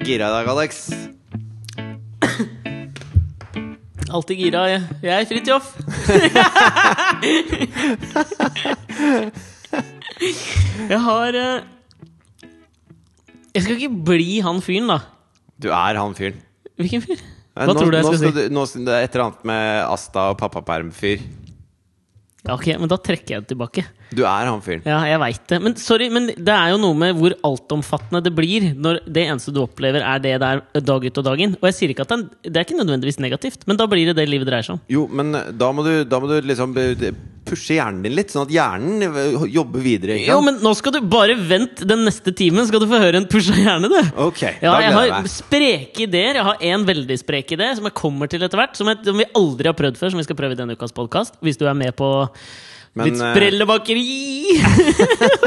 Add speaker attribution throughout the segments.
Speaker 1: gira i dag, Alex?
Speaker 2: Alltid gira. Jeg, jeg er Fridtjof. jeg har eh, Jeg skal ikke bli han fyren, da.
Speaker 1: Du er han fyren.
Speaker 2: Hvilken fyr?
Speaker 1: Eh,
Speaker 2: Hva
Speaker 1: nå-
Speaker 2: tror du
Speaker 1: nå
Speaker 2: jeg skal si?
Speaker 1: du- Nå, skal du- et eller annet med Asta og pappaperm-fyr.
Speaker 2: Ja, ok, men da trekker jeg det tilbake.
Speaker 1: Du er han fyren.
Speaker 2: Ja, jeg vet det. Men sorry, men det er jo noe med hvor altomfattende det blir når det eneste du opplever, er det der dag ut og dag inn. Og jeg sier ikke at det er, det er ikke nødvendigvis negativt, men da blir det det livet dreier seg om.
Speaker 1: Jo, men eh, da må du, da må du liksom be- pushe hjernen din litt, sånn at hjernen eh, jobber videre. Ikke sant?
Speaker 2: Jo, men nå skal du bare vent den neste timen, skal du få høre en pusha hjerne, du.
Speaker 1: Ok, da
Speaker 2: Ja, jeg
Speaker 1: gleder jeg
Speaker 2: har
Speaker 1: meg.
Speaker 2: spreke ideer. Jeg har en veldig sprek idé som jeg kommer til etter hvert. Som, jeg, som vi aldri har prøvd før, som vi skal prøve i denne ukas podkast. Hvis du er med på
Speaker 1: Men,
Speaker 2: ditt
Speaker 1: eh,
Speaker 2: sprellebakeri!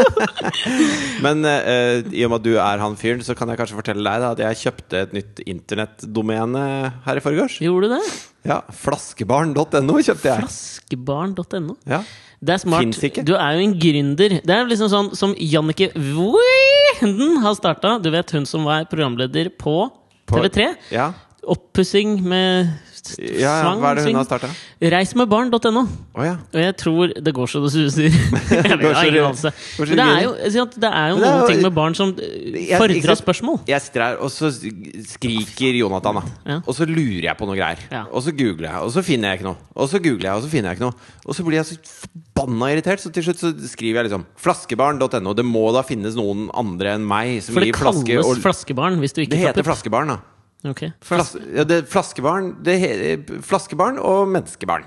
Speaker 1: Men eh, i og med at du er han fyren, så kan jeg kanskje fortelle deg da, at jeg kjøpte et nytt internettdomene her i forgårs.
Speaker 2: Gjorde du det?
Speaker 1: Ja, flaskebarn.no kjøpte jeg.
Speaker 2: Flaskebarn.no.
Speaker 1: Ja.
Speaker 2: Det er smart.
Speaker 1: Finnes ikke.
Speaker 2: Du er jo en gründer. Det er liksom sånn som Jannicke Wienden har starta. Du vet hun som var programleder på,
Speaker 1: På-
Speaker 2: TV3?
Speaker 1: Ja.
Speaker 2: Oppussing med s-
Speaker 1: ja, ja, hva er det
Speaker 2: sang-
Speaker 1: hun har starta?
Speaker 2: Reismedbarn.no.
Speaker 1: Å ja.
Speaker 2: Og jeg tror det går så det suser. Jeg vet, jeg har ingen anelse.
Speaker 1: Går så
Speaker 2: Men det er
Speaker 1: det
Speaker 2: jo, jeg sier at det er jo
Speaker 1: Men det er
Speaker 2: noen
Speaker 1: jo-
Speaker 2: ting med barn som eh,
Speaker 1: Jeg- ikke
Speaker 2: fordrer
Speaker 1: sant?
Speaker 2: spørsmål.
Speaker 1: Jeg sitter her, og så skriker Jonathan, da.
Speaker 2: Ja.
Speaker 1: Og så lurer jeg på noe greier.
Speaker 2: Ja.
Speaker 1: Og så googler jeg, og så finner jeg ikke noe. Og så googler jeg, og så finner jeg ikke noe. Og så blir jeg så forbanna irritert, så til slutt så skriver jeg liksom flaskebarn.no. Det må da finnes noen andre enn meg som
Speaker 2: For det
Speaker 1: gir flaske
Speaker 2: kalles
Speaker 1: og
Speaker 2: flaskebarn hvis du ikke
Speaker 1: Det heter
Speaker 2: tapper.
Speaker 1: flaskebarn, da.
Speaker 2: Ok.
Speaker 1: Flas ja, det, flaskebarn, det he eh, flaskebarn og menneskebarn.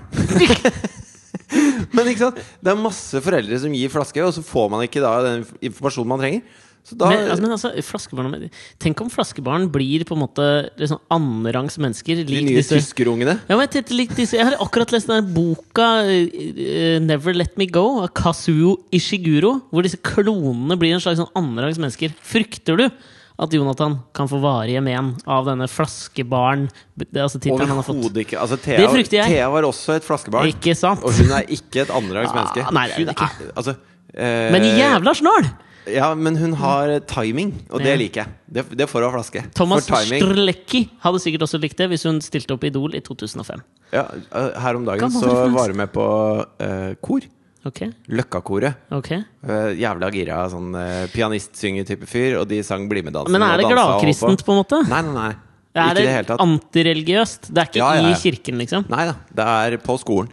Speaker 1: Men ikke sant? det er masse foreldre som gir flaske, og så får man ikke da den informasjonen man trenger. Så da
Speaker 2: Men, altså, men altså, flaskebarn Tenk om flaskebarn blir på en måte liksom annenrangs mennesker.
Speaker 1: De
Speaker 2: Lik
Speaker 1: nye
Speaker 2: disse
Speaker 1: tyskerungene.
Speaker 2: ja, men jeg, tenkte lik disse. jeg har akkurat lest den der boka eh, eh, 'Never Let Me Go' av Kazuo Ishiguro, hvor disse klonene blir en slags sånn annenrangs mennesker. Frykter du at Jonathan kan få varige men av denne flaskebarn Det er altså tittelen han har fått.
Speaker 1: Overhodet ikke. Altså,
Speaker 2: Det
Speaker 1: Thea,
Speaker 2: frykter jeg.
Speaker 1: Thea var også et flaskebarn,
Speaker 2: Ikke sant?
Speaker 1: og hun er ikke et andrerangs
Speaker 2: Ah,
Speaker 1: menneske.
Speaker 2: nei, det er
Speaker 1: hun
Speaker 2: hun ikke.
Speaker 1: er, altså, eh,
Speaker 2: Men jævla snål!
Speaker 1: Ja, men hun har timing, og det
Speaker 2: Ja.
Speaker 1: liker jeg. Det, det får hun av flaske.
Speaker 2: Thomas
Speaker 1: For timing.
Speaker 2: Strlecki hadde sikkert også likt det hvis hun stilte opp i Idol i 2005.
Speaker 1: Ja, eh, her om dagen
Speaker 2: Gammel
Speaker 1: så
Speaker 2: referanse.
Speaker 1: var hun med på eh, kor.
Speaker 2: Ok,
Speaker 1: Løkkakoret.
Speaker 2: ok
Speaker 1: Eh, jævla gira sånn eh, pianistsynger-type fyr, og de sang BlimE-dansen.
Speaker 2: Men er det
Speaker 1: og dansa og holdt
Speaker 2: gladkristent, på en måte?
Speaker 1: Nei, nei, nei.
Speaker 2: Er
Speaker 1: ikke i
Speaker 2: det
Speaker 1: det hele tatt.
Speaker 2: antireligiøst? Det er ikke
Speaker 1: Ja, ja, ja.
Speaker 2: i kirken, liksom?
Speaker 1: Nei da, det er på skolen.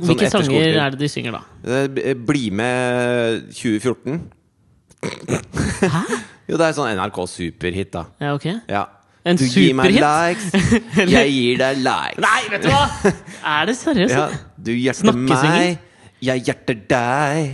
Speaker 1: Sånn
Speaker 2: Hvilke sanger er det de synger, da?
Speaker 1: det? Eh, Bli med 2014.
Speaker 2: Hæ?
Speaker 1: Jo, det er sånn NRK superhit, da.
Speaker 2: Ja, ok
Speaker 1: Ja.
Speaker 2: En
Speaker 1: du gir meg
Speaker 2: superhit?
Speaker 1: likes, jeg gir deg likes.
Speaker 2: Nei, vet du hva! Er det seriøst?
Speaker 1: Ja,
Speaker 2: da?
Speaker 1: du hjerter
Speaker 2: Snakkesynging?
Speaker 1: meg, jeg hjerter deg.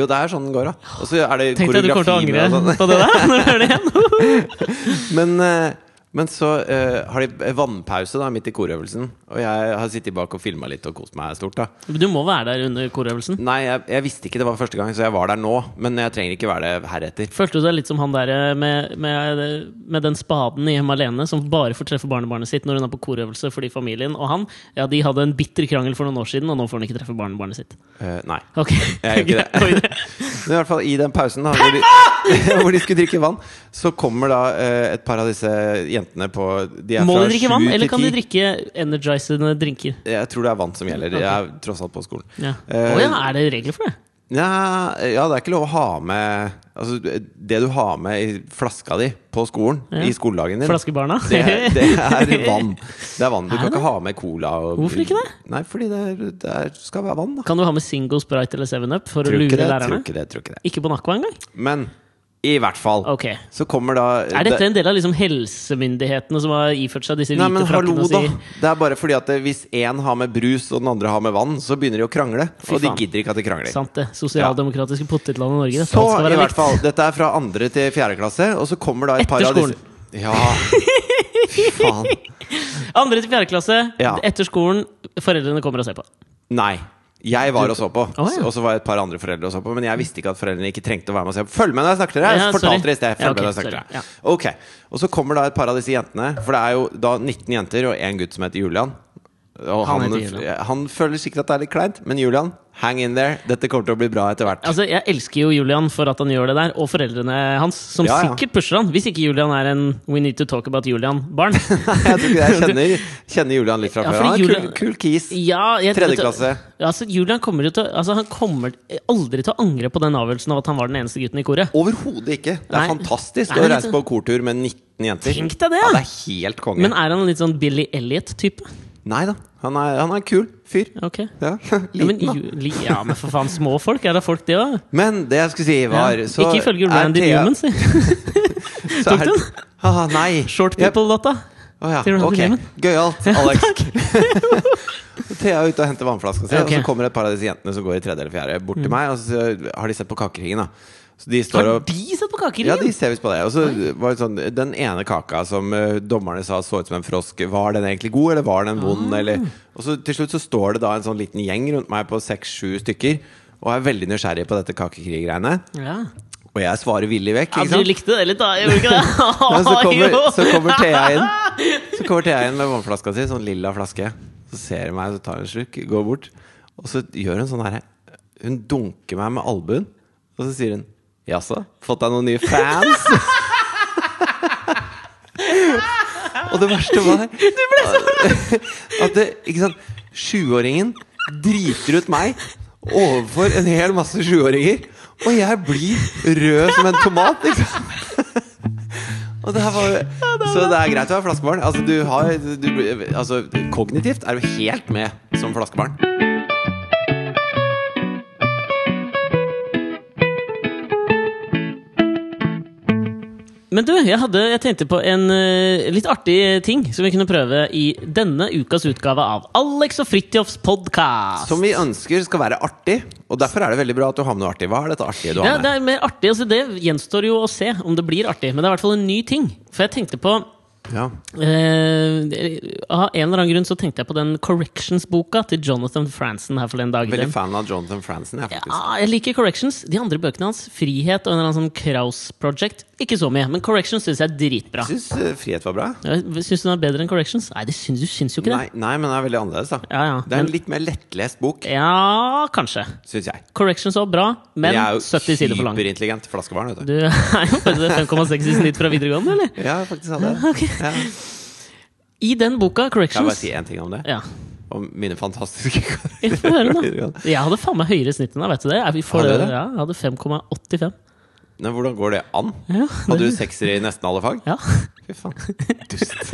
Speaker 1: Jo, det er sånn den går, da. Og så er det
Speaker 2: Tenkte jeg du kommer til å
Speaker 1: koreografi med og
Speaker 2: angre
Speaker 1: sånn.
Speaker 2: på det der. Når du hører det igjen
Speaker 1: Men, eh, men så eh, har de vannpause da, midt i korøvelsen. Og jeg har sittet bak og filma litt og kost meg stort. da
Speaker 2: Du må være der under korøvelsen.
Speaker 1: Nei, jeg, jeg visste ikke det var første gang, så jeg var der nå. Men jeg trenger ikke være det heretter.
Speaker 2: Følte du deg litt som han der eh, med, med, med den spaden i Hjemme alene, som bare får treffe barnebarnet sitt når hun er på korøvelse fordi familien og han Ja, de hadde en bitter krangel for noen år siden, og nå får hun ikke treffe barnebarnet sitt.
Speaker 1: Eh, nei.
Speaker 2: Ok,
Speaker 1: Jeg gjør ikke det.
Speaker 2: Gå videre.
Speaker 1: Men i hvert fall i den pausen da, hvor, de, hvor de skulle drikke vann, så kommer da eh, et par av disse jentene på De er
Speaker 2: Må
Speaker 1: fra
Speaker 2: de drikke
Speaker 1: sju
Speaker 2: vann,
Speaker 1: til
Speaker 2: eller kan de
Speaker 1: ti.
Speaker 2: drikke energizende drinker?
Speaker 1: Jeg tror det er vann som gjelder. Jeg er tross alt på skolen.
Speaker 2: Ja.
Speaker 1: Eh,
Speaker 2: Å ja, er det regler for det?
Speaker 1: Nja, ja, det er ikke lov å ha med Altså, det du har med i flaska di på skolen,
Speaker 2: Ja.
Speaker 1: i skoledagen din
Speaker 2: Flaskebarna?
Speaker 1: det, er- det er vann. Det er vann. Du
Speaker 2: Er
Speaker 1: kan
Speaker 2: det?
Speaker 1: ikke ha med cola og
Speaker 2: Hvorfor ikke det?
Speaker 1: Nei, fordi det, er, det er, skal være vann, da.
Speaker 2: Kan du ha med Singo, Sprite eller Seven Up for å
Speaker 1: Tror
Speaker 2: lure
Speaker 1: ikke det, tror
Speaker 2: lærerne?
Speaker 1: ikke det, tror ikke det.
Speaker 2: Ikke på Nacco engang?
Speaker 1: Men i hvert fall
Speaker 2: Ok.
Speaker 1: så kommer da
Speaker 2: Er dette en del av liksom helsemyndighetene som har iført seg disse
Speaker 1: Nei,
Speaker 2: hvite
Speaker 1: men hallo,
Speaker 2: frakkene og
Speaker 1: da!
Speaker 2: sier
Speaker 1: Det er bare fordi at eh, hvis én har med brus, og den andre har med vann, så begynner de å krangle.
Speaker 2: Fy
Speaker 1: og de
Speaker 2: faen.
Speaker 1: gidder ikke at de krangler.
Speaker 2: Sant det. Sosialdemokratiske potetlandet Norge. Dette
Speaker 1: Så
Speaker 2: alt skal
Speaker 1: i
Speaker 2: være
Speaker 1: hvert
Speaker 2: likt.
Speaker 1: fall, dette er fra andre til fjerde klasse, og så kommer da et
Speaker 2: Etter
Speaker 1: par av
Speaker 2: skolen.
Speaker 1: disse Ja, fy faen.
Speaker 2: Andre til fjerde klasse.
Speaker 1: Ja.
Speaker 2: Etter skolen. Foreldrene kommer og ser på.
Speaker 1: Nei. Jeg var og så på,
Speaker 2: Å, ja.
Speaker 1: og så var et par andre foreldre og så på. Men jeg visste ikke at foreldrene ikke trengte å være med og se på. Følg med når jeg snakker til dere! Jeg
Speaker 2: Ja, sorry.
Speaker 1: fortalte dere i sted. Følg
Speaker 2: Ja, ok,
Speaker 1: med når jeg snakker til
Speaker 2: sorry.
Speaker 1: dere. Ok, Og så kommer da et par av disse jentene, for det er jo da 19 jenter og én gutt som heter Julian. Og
Speaker 2: Han
Speaker 1: han,
Speaker 2: heter Julian.
Speaker 1: han føler sikkert at det er litt kleint, men Julian, Hang in there. Dette kommer til å bli bra etter hvert.
Speaker 2: Altså, Jeg elsker jo Julian for at han gjør det der, og foreldrene hans, som
Speaker 1: Ja, ja.
Speaker 2: sikkert pusher han. Hvis ikke Julian er en We Need To Talk About Julian-barn.
Speaker 1: Jeg tror ikke det. Jeg kjenner, kjenner Julian litt fra
Speaker 2: Ja,
Speaker 1: før.
Speaker 2: fordi
Speaker 1: Han er en
Speaker 2: Julian-
Speaker 1: kul, kul kis.
Speaker 2: Ja, jeg-
Speaker 1: Tredje klasse.
Speaker 2: Ja, altså, Julian kommer jo til å- altså, Han kommer aldri til å angre på den avgjørelsen av at han var den eneste gutten i koret.
Speaker 1: Overhodet ikke. Det er
Speaker 2: Nei.
Speaker 1: fantastisk
Speaker 2: Nei,
Speaker 1: å
Speaker 2: men
Speaker 1: reise
Speaker 2: det- sånn-
Speaker 1: på kortur med 19 jenter.
Speaker 2: Tenk deg det,
Speaker 1: Ja,
Speaker 2: da!
Speaker 1: det er helt konge.
Speaker 2: Men er han litt sånn Billy Elliot-type?
Speaker 1: Nei da. Han er, han er en kul fyr.
Speaker 2: Ok
Speaker 1: Ja,
Speaker 2: ja, men,
Speaker 1: liten, da.
Speaker 2: ju- li- ja, men for faen, små folk er da folk, det òg.
Speaker 1: Men det jeg skulle si, var
Speaker 2: Ja.
Speaker 1: så
Speaker 2: Ikke ifølge
Speaker 1: er
Speaker 2: Randy
Speaker 1: Thea-
Speaker 2: Newman, si.
Speaker 1: så
Speaker 2: Tok
Speaker 1: er-
Speaker 2: du
Speaker 1: Ah, nei.
Speaker 2: Short
Speaker 1: Yep.
Speaker 2: People-låta.
Speaker 1: Å ja,
Speaker 2: til Randy
Speaker 1: ok.
Speaker 2: Newman.
Speaker 1: Gøyalt, Alex. Thea er ute og henter vannflaska si, og
Speaker 2: Ok. Mm.
Speaker 1: så kommer et par av disse jentene som går i tredje eller fjerde, bort til meg, og så har de sett på Kakeringen, da. Så de står
Speaker 2: Har
Speaker 1: og
Speaker 2: de sett på
Speaker 1: ja, de
Speaker 2: Kakeringen?
Speaker 1: ser visst på det. Og så var det sånn Den ene kaka som eh, dommerne sa så ut som en frosk, var den egentlig god, eller var den
Speaker 2: Ah.
Speaker 1: vond, eller Og så til slutt så står det da en sånn liten gjeng rundt meg på seks-sju stykker, og er veldig nysgjerrig på dette kakekrigreiene.
Speaker 2: Ja.
Speaker 1: Og jeg svarer villig vekk.
Speaker 2: ja,
Speaker 1: Ikke
Speaker 2: du
Speaker 1: sant?
Speaker 2: likte det litt, da? Gjorde du ikke det?
Speaker 1: Men så kommer,
Speaker 2: Jo.
Speaker 1: så kommer Thea inn Så kommer Thea inn med vannflaska si, sånn lilla flaske. Så ser hun meg, så tar hun en slurk, går bort. Og så gjør hun sånn herre Hun dunker meg med albuen, og så sier hun Jaså, fått deg noen nye fans? og det verste var at det, ikke sant, sjuåringen driter ut meg overfor en hel masse sjuåringer, og jeg blir rød som en tomat, ikke sant? Og det her var, så det er greit å være flaskebarn. Altså, du har, du, blir- altså, kognitivt er du helt med som flaskebarn.
Speaker 2: Men du, jeg, hadde, jeg tenkte på en eh, litt artig ting som vi kunne prøve i denne ukas utgave av Alex og Fridtjofs podkast.
Speaker 1: Som vi ønsker skal være artig, og derfor er det veldig bra at du har med noe artig. Hva er dette artige du
Speaker 2: Ja,
Speaker 1: har
Speaker 2: det
Speaker 1: med?
Speaker 2: er mer artig. Altså, det gjenstår jo å se om det blir artig. Men det er i hvert fall en ny ting. For jeg tenkte på
Speaker 1: Ja.
Speaker 2: eh, Av en eller annen grunn så tenkte jeg på den Corrections-boka til Jonathan Franzen her forleden dag.
Speaker 1: Veldig
Speaker 2: Den-
Speaker 1: fan av Jonathan Franzen, jeg, faktisk.
Speaker 2: Ja, jeg liker Corrections. De andre bøkene hans, Frihet og en eller annen sånn Kraus Project, ikke så mye. Men Corrections syns jeg er dritbra.
Speaker 1: Syns eh, frihet var bra.
Speaker 2: Syns du den er bedre enn Corrections? Nei, det syns, du syns jo ikke det.
Speaker 1: Nei, nei, men den er veldig annerledes, da.
Speaker 2: Ja, ja.
Speaker 1: Det er en
Speaker 2: Men-
Speaker 1: litt mer lettlest bok,
Speaker 2: Ja, kanskje.
Speaker 1: syns jeg.
Speaker 2: Corrections var bra, men
Speaker 1: jeg er jo
Speaker 2: 70 sider for lang.
Speaker 1: hyperintelligent flaskebarn, vet du.
Speaker 2: Du er jo bare det 5,6 i snitt fra videregående, eller?
Speaker 1: Ja, faktisk hadde jeg
Speaker 2: Ok.
Speaker 1: ja. Kan
Speaker 2: I den boka,
Speaker 1: jeg bare
Speaker 2: Corrections
Speaker 1: si én ting om det?
Speaker 2: Ja,
Speaker 1: Om mine fantastiske
Speaker 2: vi får høre den, da.
Speaker 1: videregående.
Speaker 2: Jeg hadde faen meg høyere snitt enn deg, vet du det? Er vi for,
Speaker 1: Hadde du det?
Speaker 2: ja, jeg hadde 5,85.
Speaker 1: Nei, hvordan går det an?
Speaker 2: Ja,
Speaker 1: Hadde du seksere i nesten alle fag?
Speaker 2: Ja.
Speaker 1: Fy faen. Dust.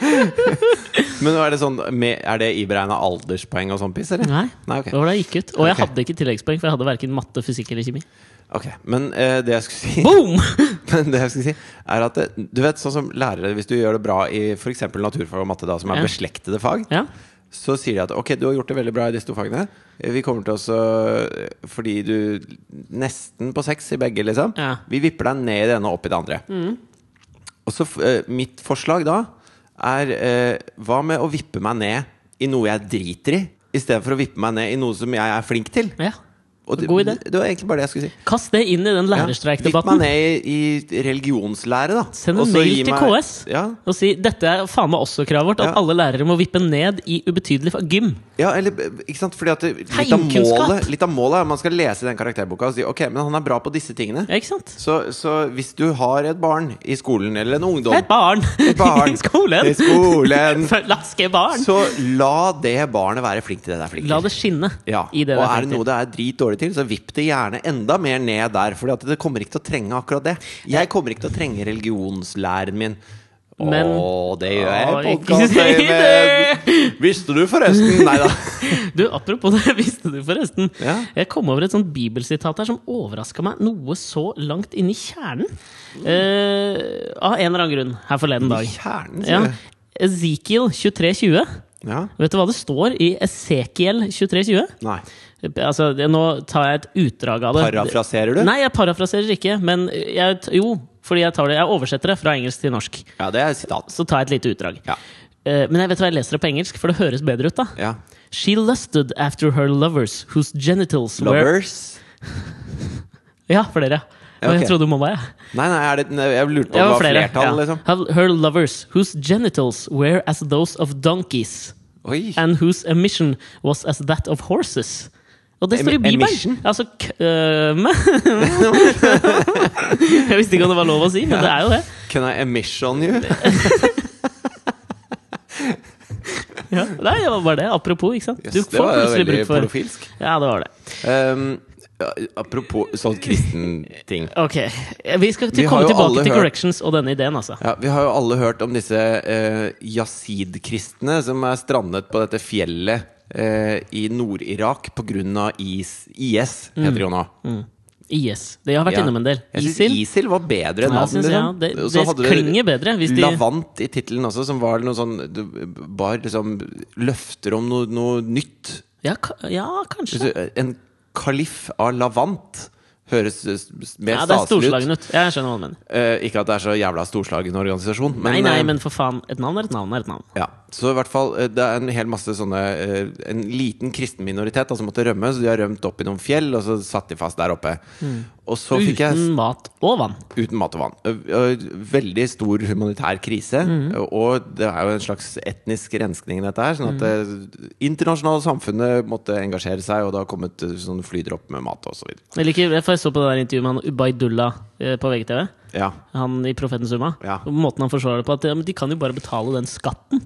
Speaker 1: Men er det, sånn, med- er det iberegna alderspoeng og sånn piss, eller?
Speaker 2: Nei.
Speaker 1: Nei, ok.
Speaker 2: Det var da jeg gikk ut. Og jeg
Speaker 1: Ok.
Speaker 2: hadde ikke tilleggspoeng, for jeg hadde verken matte, fysikk eller kjemi.
Speaker 1: Ok, Men eh, det jeg skulle si
Speaker 2: Boom!
Speaker 1: Men det jeg skulle si er at det, Du vet, sånn som lærere, hvis du gjør det bra i f.eks. naturfag og matte, da, som er
Speaker 2: Ja.
Speaker 1: beslektede fag,
Speaker 2: Ja.
Speaker 1: så sier de at ok, du har gjort det veldig bra i disse to fagene. Vi kommer til å så- Fordi du nesten på seks i begge, liksom.
Speaker 2: Ja. Mm.
Speaker 1: Vi vipper deg ned i det ene og opp i det andre. Og så f- eh, mitt forslag da er eh, hva med å vippe meg ned i noe jeg driter i, istedenfor å vippe meg ned i noe som jeg er flink til?
Speaker 2: ja.
Speaker 1: Og det,
Speaker 2: God idé.
Speaker 1: det var egentlig bare det jeg skulle si.
Speaker 2: Kast det inn i den
Speaker 1: Ja. Vipp meg
Speaker 2: lærerstreikdebatten.
Speaker 1: ned i, i religionslære, da.
Speaker 2: Send
Speaker 1: Og
Speaker 2: en
Speaker 1: så
Speaker 2: mail
Speaker 1: gi
Speaker 2: til
Speaker 1: meg-
Speaker 2: KS.
Speaker 1: Ja,
Speaker 2: Og si dette er faen meg også kravet vårt,
Speaker 1: Ja.
Speaker 2: at alle lærere må vippe ned i ubetydelig fa- gym.
Speaker 1: Ja, eller, ikke sant? Fordi at det, litt, av
Speaker 2: Tegnkunnskap.
Speaker 1: målet, litt av målet er at man skal lese den karakterboka og si ok, men han er bra på disse tingene.
Speaker 2: Ja, ikke sant?
Speaker 1: Så, så hvis du har et barn i skolen, eller en ungdom
Speaker 2: Et barn!
Speaker 1: Sånn. barn.
Speaker 2: I skolen!
Speaker 1: I skolen.
Speaker 2: Laske barn!
Speaker 1: Så la det barnet være flink til det det er flink
Speaker 2: La
Speaker 1: til.
Speaker 2: det skinne
Speaker 1: Ja.
Speaker 2: i det
Speaker 1: og
Speaker 2: der
Speaker 1: er det noe det er drit dårlig til, så vipp det gjerne enda mer ned der. For det kommer ikke til å trenge akkurat det. Jeg kommer ikke til å trenge religionslæren min.
Speaker 2: Eh. Men-
Speaker 1: Åh, det gjør jeg i
Speaker 2: Åh, ikke
Speaker 1: podkastøyemed! Visste du forresten? Nei da.
Speaker 2: Du, Apropos det, visste du forresten?
Speaker 1: Ja.
Speaker 2: Jeg kom over et sånt bibelsitat her som overraska meg noe så langt inn i kjernen. Eh, av en eller annen grunn her forleden dag.
Speaker 1: Kjernen,
Speaker 2: Ja.
Speaker 1: sier du.
Speaker 2: Ezekiel 2320.
Speaker 1: Ja.
Speaker 2: Vet du hva det står i Esekiel 2320?
Speaker 1: Nei.
Speaker 2: Altså, det, nå tar jeg et utdrag av det.
Speaker 1: Parafraserer du?
Speaker 2: Nei, jeg parafraserer ikke. Men jeg, t- jo, fordi jeg, tar det, jeg oversetter det fra engelsk til norsk.
Speaker 1: Ja, det er sitat.
Speaker 2: Så tar jeg et lite utdrag.
Speaker 1: Ja.
Speaker 2: Eh, men jeg vet hva jeg leser det på engelsk, for det høres bedre ut, da.
Speaker 1: ja.
Speaker 2: She lusted after her lovers, whose genitals were
Speaker 1: Lovers?
Speaker 2: Ja, flere.
Speaker 1: Ja, ok.
Speaker 2: Jeg trodde mamma, jeg.
Speaker 1: Nei, nei, er det, nei, jeg lurte på om
Speaker 2: Det
Speaker 1: det
Speaker 2: var
Speaker 1: var
Speaker 2: flere.
Speaker 1: flertall,
Speaker 2: ja.
Speaker 1: liksom.
Speaker 2: Her lovers, whose genitals were as those of donkeys.
Speaker 1: Å Oi.
Speaker 2: and whose emission was as that of horses. Og det står i
Speaker 1: Em-
Speaker 2: Bibelen!
Speaker 1: emission?
Speaker 2: Altså køm Jeg visste ikke om det var lov å si, men det er jo det.
Speaker 1: Can I emission you?
Speaker 2: Ja. Nei, det var bare det. Apropos, ikke sant?
Speaker 1: Yes,
Speaker 2: Du
Speaker 1: det
Speaker 2: får
Speaker 1: var
Speaker 2: plutselig
Speaker 1: veldig
Speaker 2: bruk for
Speaker 1: pornofilsk.
Speaker 2: Ja, det var det.
Speaker 1: Um, ja, apropos sånn kristen ting.
Speaker 2: Ok. Vi skal
Speaker 1: Vi
Speaker 2: til,
Speaker 1: har
Speaker 2: komme
Speaker 1: jo alle
Speaker 2: tilbake til
Speaker 1: hørt-
Speaker 2: corrections og denne ideen, altså.
Speaker 1: Ja, vi har jo alle hørt om disse eh, yazid-kristne som er strandet på dette fjellet eh, i Nord-Irak pga. IS, IS, heter
Speaker 2: Mm.
Speaker 1: det jo nå.
Speaker 2: IS. De har vært
Speaker 1: Ja.
Speaker 2: innom en del.
Speaker 1: Jeg synes
Speaker 2: ISIL.
Speaker 1: ISIL var bedre
Speaker 2: Ja,
Speaker 1: navn.
Speaker 2: jeg synes, ja,
Speaker 1: liksom.
Speaker 2: det-
Speaker 1: Og så
Speaker 2: det
Speaker 1: hadde du
Speaker 2: klinger bedre hvis de-
Speaker 1: Lavant i tittelen også, som var noe sånn Det var liksom løfter om noe, noe nytt.
Speaker 2: Ja, ka- ja, kanskje.
Speaker 1: Hvis du- En kalif av Lavant høres eh, s- mer
Speaker 2: Ja, det er
Speaker 1: staselig ut.
Speaker 2: storslagen ut. Jeg skjønner hva du mener.
Speaker 1: Eh, ikke at det er så jævla storslagen organisasjon, men,
Speaker 2: Nei, nei,
Speaker 1: eh,
Speaker 2: men for faen. Et navn er et navn er et navn.
Speaker 1: Ja, så i hvert fall eh, Det er en hel masse sånne eh, En liten kristen minoritet da, som måtte rømme, så de har rømt opp i noen fjell, og så satt de fast der oppe.
Speaker 2: Mm.
Speaker 1: Og så fikk jeg
Speaker 2: Uten mat og vann.
Speaker 1: Uten mat og vann. Ø- ø- Veldig stor humanitær krise.
Speaker 2: Mhm.
Speaker 1: Og det er jo en slags etnisk renskning, i dette her. Sånn at det internasjonale samfunnet måtte engasjere seg, og det har kommet ø, sånn flydropp med mat og så videre.
Speaker 2: Jeg liker, for jeg så på det der intervjuet med han Ubaydullah eh, på VGTV.
Speaker 1: Ja.
Speaker 2: Han i Profetens Umma.
Speaker 1: Ja.
Speaker 2: Og Måten han forsvarer det på, at ja, men de kan jo bare betale den skatten.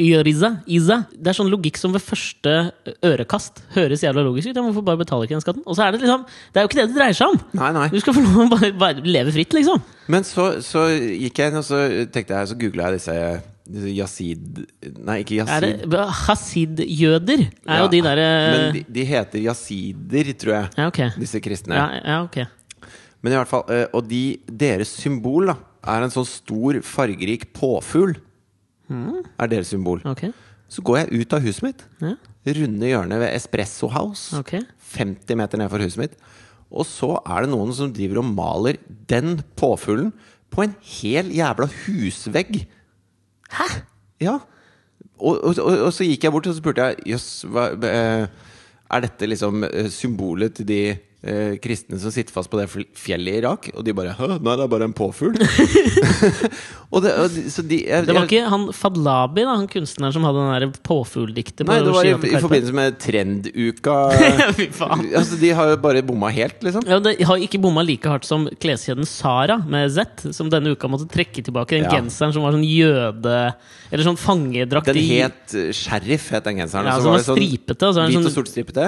Speaker 2: Riza, Iza. Det er sånn logikk som ved første eh, ørekast høres jævla logisk ut. Ja, men hvorfor bare betaler ikke den skatten? Og så er det liksom Det er jo ikke det det dreier seg om!
Speaker 1: Nei, nei.
Speaker 2: Du skal få lov å bare, bare leve fritt, liksom.
Speaker 1: Men så, så gikk jeg inn, og så tenkte jeg, så googla jeg disse, disse yazid... Nei, ikke
Speaker 2: Er
Speaker 1: yazid.
Speaker 2: det Hasid-jøder? Er
Speaker 1: Ja,
Speaker 2: jo de derre
Speaker 1: Men de, de heter yazider, tror jeg.
Speaker 2: Ja, ok.
Speaker 1: Disse kristne.
Speaker 2: Ja, ja, ok.
Speaker 1: Men i hvert fall, eh, Og de, deres symbol da er en sånn stor, fargerik påfugl.
Speaker 2: Mhm.
Speaker 1: Er deres symbol.
Speaker 2: Ok.
Speaker 1: Så går jeg ut av huset mitt.
Speaker 2: Ja.
Speaker 1: Runde hjørnet ved Espresso House.
Speaker 2: Ok.
Speaker 1: 50 meter ned for huset mitt. Og så er det noen som driver og maler den påfuglen på en hel jævla husvegg.
Speaker 2: Hæ?
Speaker 1: Ja. Og, og, og, og så gikk jeg bort og så spurte jeg Jøss, hva- eh, er dette liksom eh, symbolet til de eh, kristne som sitter fast på det fl- fjellet i Irak? Og de bare Hæ, nei, det er bare en påfugl. og det, og, de- så de jeg,
Speaker 2: Det var
Speaker 1: jeg-
Speaker 2: ikke han Fadlabi, da, han kunstneren som hadde den der påfugldiktet? på
Speaker 1: Nei, det var i,
Speaker 2: Shiva på
Speaker 1: i
Speaker 2: Karpe?
Speaker 1: forbindelse med trenduka
Speaker 2: Fy faen.
Speaker 1: Altså, de har jo bare bomma helt, liksom.
Speaker 2: Ja, det har ikke bomma like hardt som kleskjeden Sara med Z, som denne uka måtte trekke tilbake den
Speaker 1: Ja.
Speaker 2: genseren som var sånn jøde... Eller sånn fangedrakt
Speaker 1: Den
Speaker 2: i
Speaker 1: het eh, Sheriff, het den genseren.
Speaker 2: Ja,
Speaker 1: og
Speaker 2: som var
Speaker 1: det sånn
Speaker 2: stripete, og så var det
Speaker 1: hvit og
Speaker 2: sånn-
Speaker 1: sortstripete.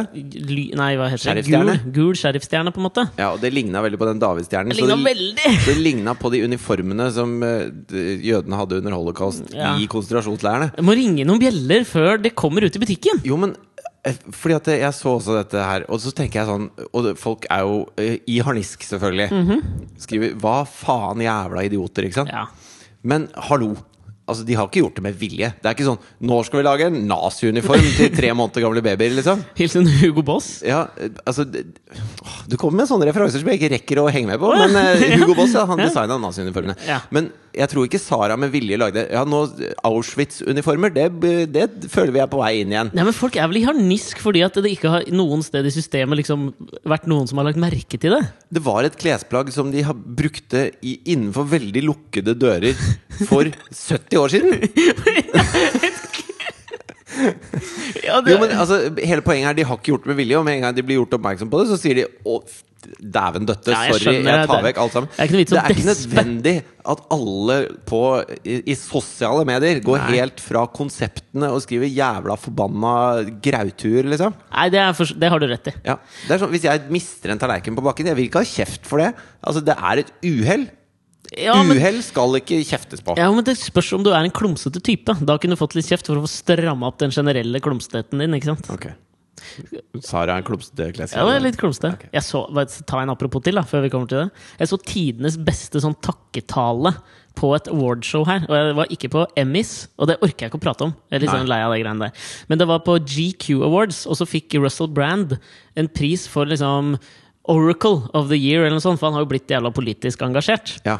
Speaker 2: ly, Nei, hva heter det? Gul,
Speaker 1: Sheriffstjerne?
Speaker 2: gul sheriffstjerne, på en måte.
Speaker 1: Ja, og det ligna veldig på den Davidstjernen.
Speaker 2: Det
Speaker 1: så
Speaker 2: ligna
Speaker 1: det-
Speaker 2: veldig!
Speaker 1: Det ligna på de uniformene som eh, de- jødene hadde under holocaust
Speaker 2: Ja.
Speaker 1: i konsentrasjonsleirene.
Speaker 2: Jeg må ringe noen bjeller før det kommer ut i butikken!
Speaker 1: Jo, men eh, fordi at jeg så også dette her, og så tenker jeg sånn Og det- folk er jo eh, i harnisk, selvfølgelig.
Speaker 2: Mhm.
Speaker 1: Skriver 'hva faen jævla idioter', ikke sant?
Speaker 2: Ja.
Speaker 1: Men hallo. Altså, De har ikke gjort det med vilje. Det er ikke sånn 'nå skal vi lage en nazi-uniform til tre måneder gamle babyer'. liksom
Speaker 2: Hilsen Hugo Boss.
Speaker 1: Ja, eh, altså det- åh, Du kommer med sånne referanser som jeg ikke rekker å henge med på. Men eh, Hugo Boss ja, han designa naziuniformene.
Speaker 2: Ja.
Speaker 1: Men jeg tror ikke Sara med vilje lagde Ja, nå Auschwitz-uniformer, det, b- det føler vi er på vei inn igjen.
Speaker 2: Nei, men Folk er vel i harnisk fordi at det ikke har noen sted i systemet liksom vært noen som har lagt merke til det?
Speaker 1: Det var et klesplagg som de har brukte i, innenfor veldig lukkede dører for 70 år siden.
Speaker 2: Ja, det
Speaker 1: Jo, men altså, Hele poenget er de har ikke gjort det med vilje, og med en gang de blir gjort oppmerksom på det, så sier de å, f- dæven døtte,
Speaker 2: Ja, jeg
Speaker 1: sorry,
Speaker 2: skjønner
Speaker 1: jeg
Speaker 2: det.
Speaker 1: tar
Speaker 2: Det-
Speaker 1: vekk alt sammen.
Speaker 2: det er ikke noe vits å despe.
Speaker 1: nødvendig at alle på, i, i sosiale medier går
Speaker 2: Nei.
Speaker 1: helt fra konseptene og skriver jævla forbanna grautuer, liksom.
Speaker 2: Nei, det, er for, det har du rett i.
Speaker 1: Ja. Det er sånn, Hvis jeg mister en tallerken på bakken, jeg vil ikke ha kjeft for det. Altså, det er et uhell.
Speaker 2: Ja, men
Speaker 1: uhell skal ikke kjeftes på.
Speaker 2: Ja, men Det spørs om du er en klumsete type. Da kunne du fått litt kjeft for å få stramma opp den generelle klumstheten din. ikke sant?
Speaker 1: Ok. Sara er en klumsete kleskjede.
Speaker 2: Ja, det er litt klumsete.
Speaker 1: Ok.
Speaker 2: Jeg så, bare ta en apropos til, da, før vi kommer til det. Jeg så tidenes beste sånn takketale på et awardshow her. Og jeg var ikke på Emmys, og det orker jeg ikke å prate om. Jeg er litt
Speaker 1: Nei.
Speaker 2: sånn lei av det greiene der. Men det var på GQ Awards, og så fikk Russell Brand en pris for liksom Oracle of the Year, eller noe sånt, for han har jo blitt jævla politisk engasjert.
Speaker 1: Ja.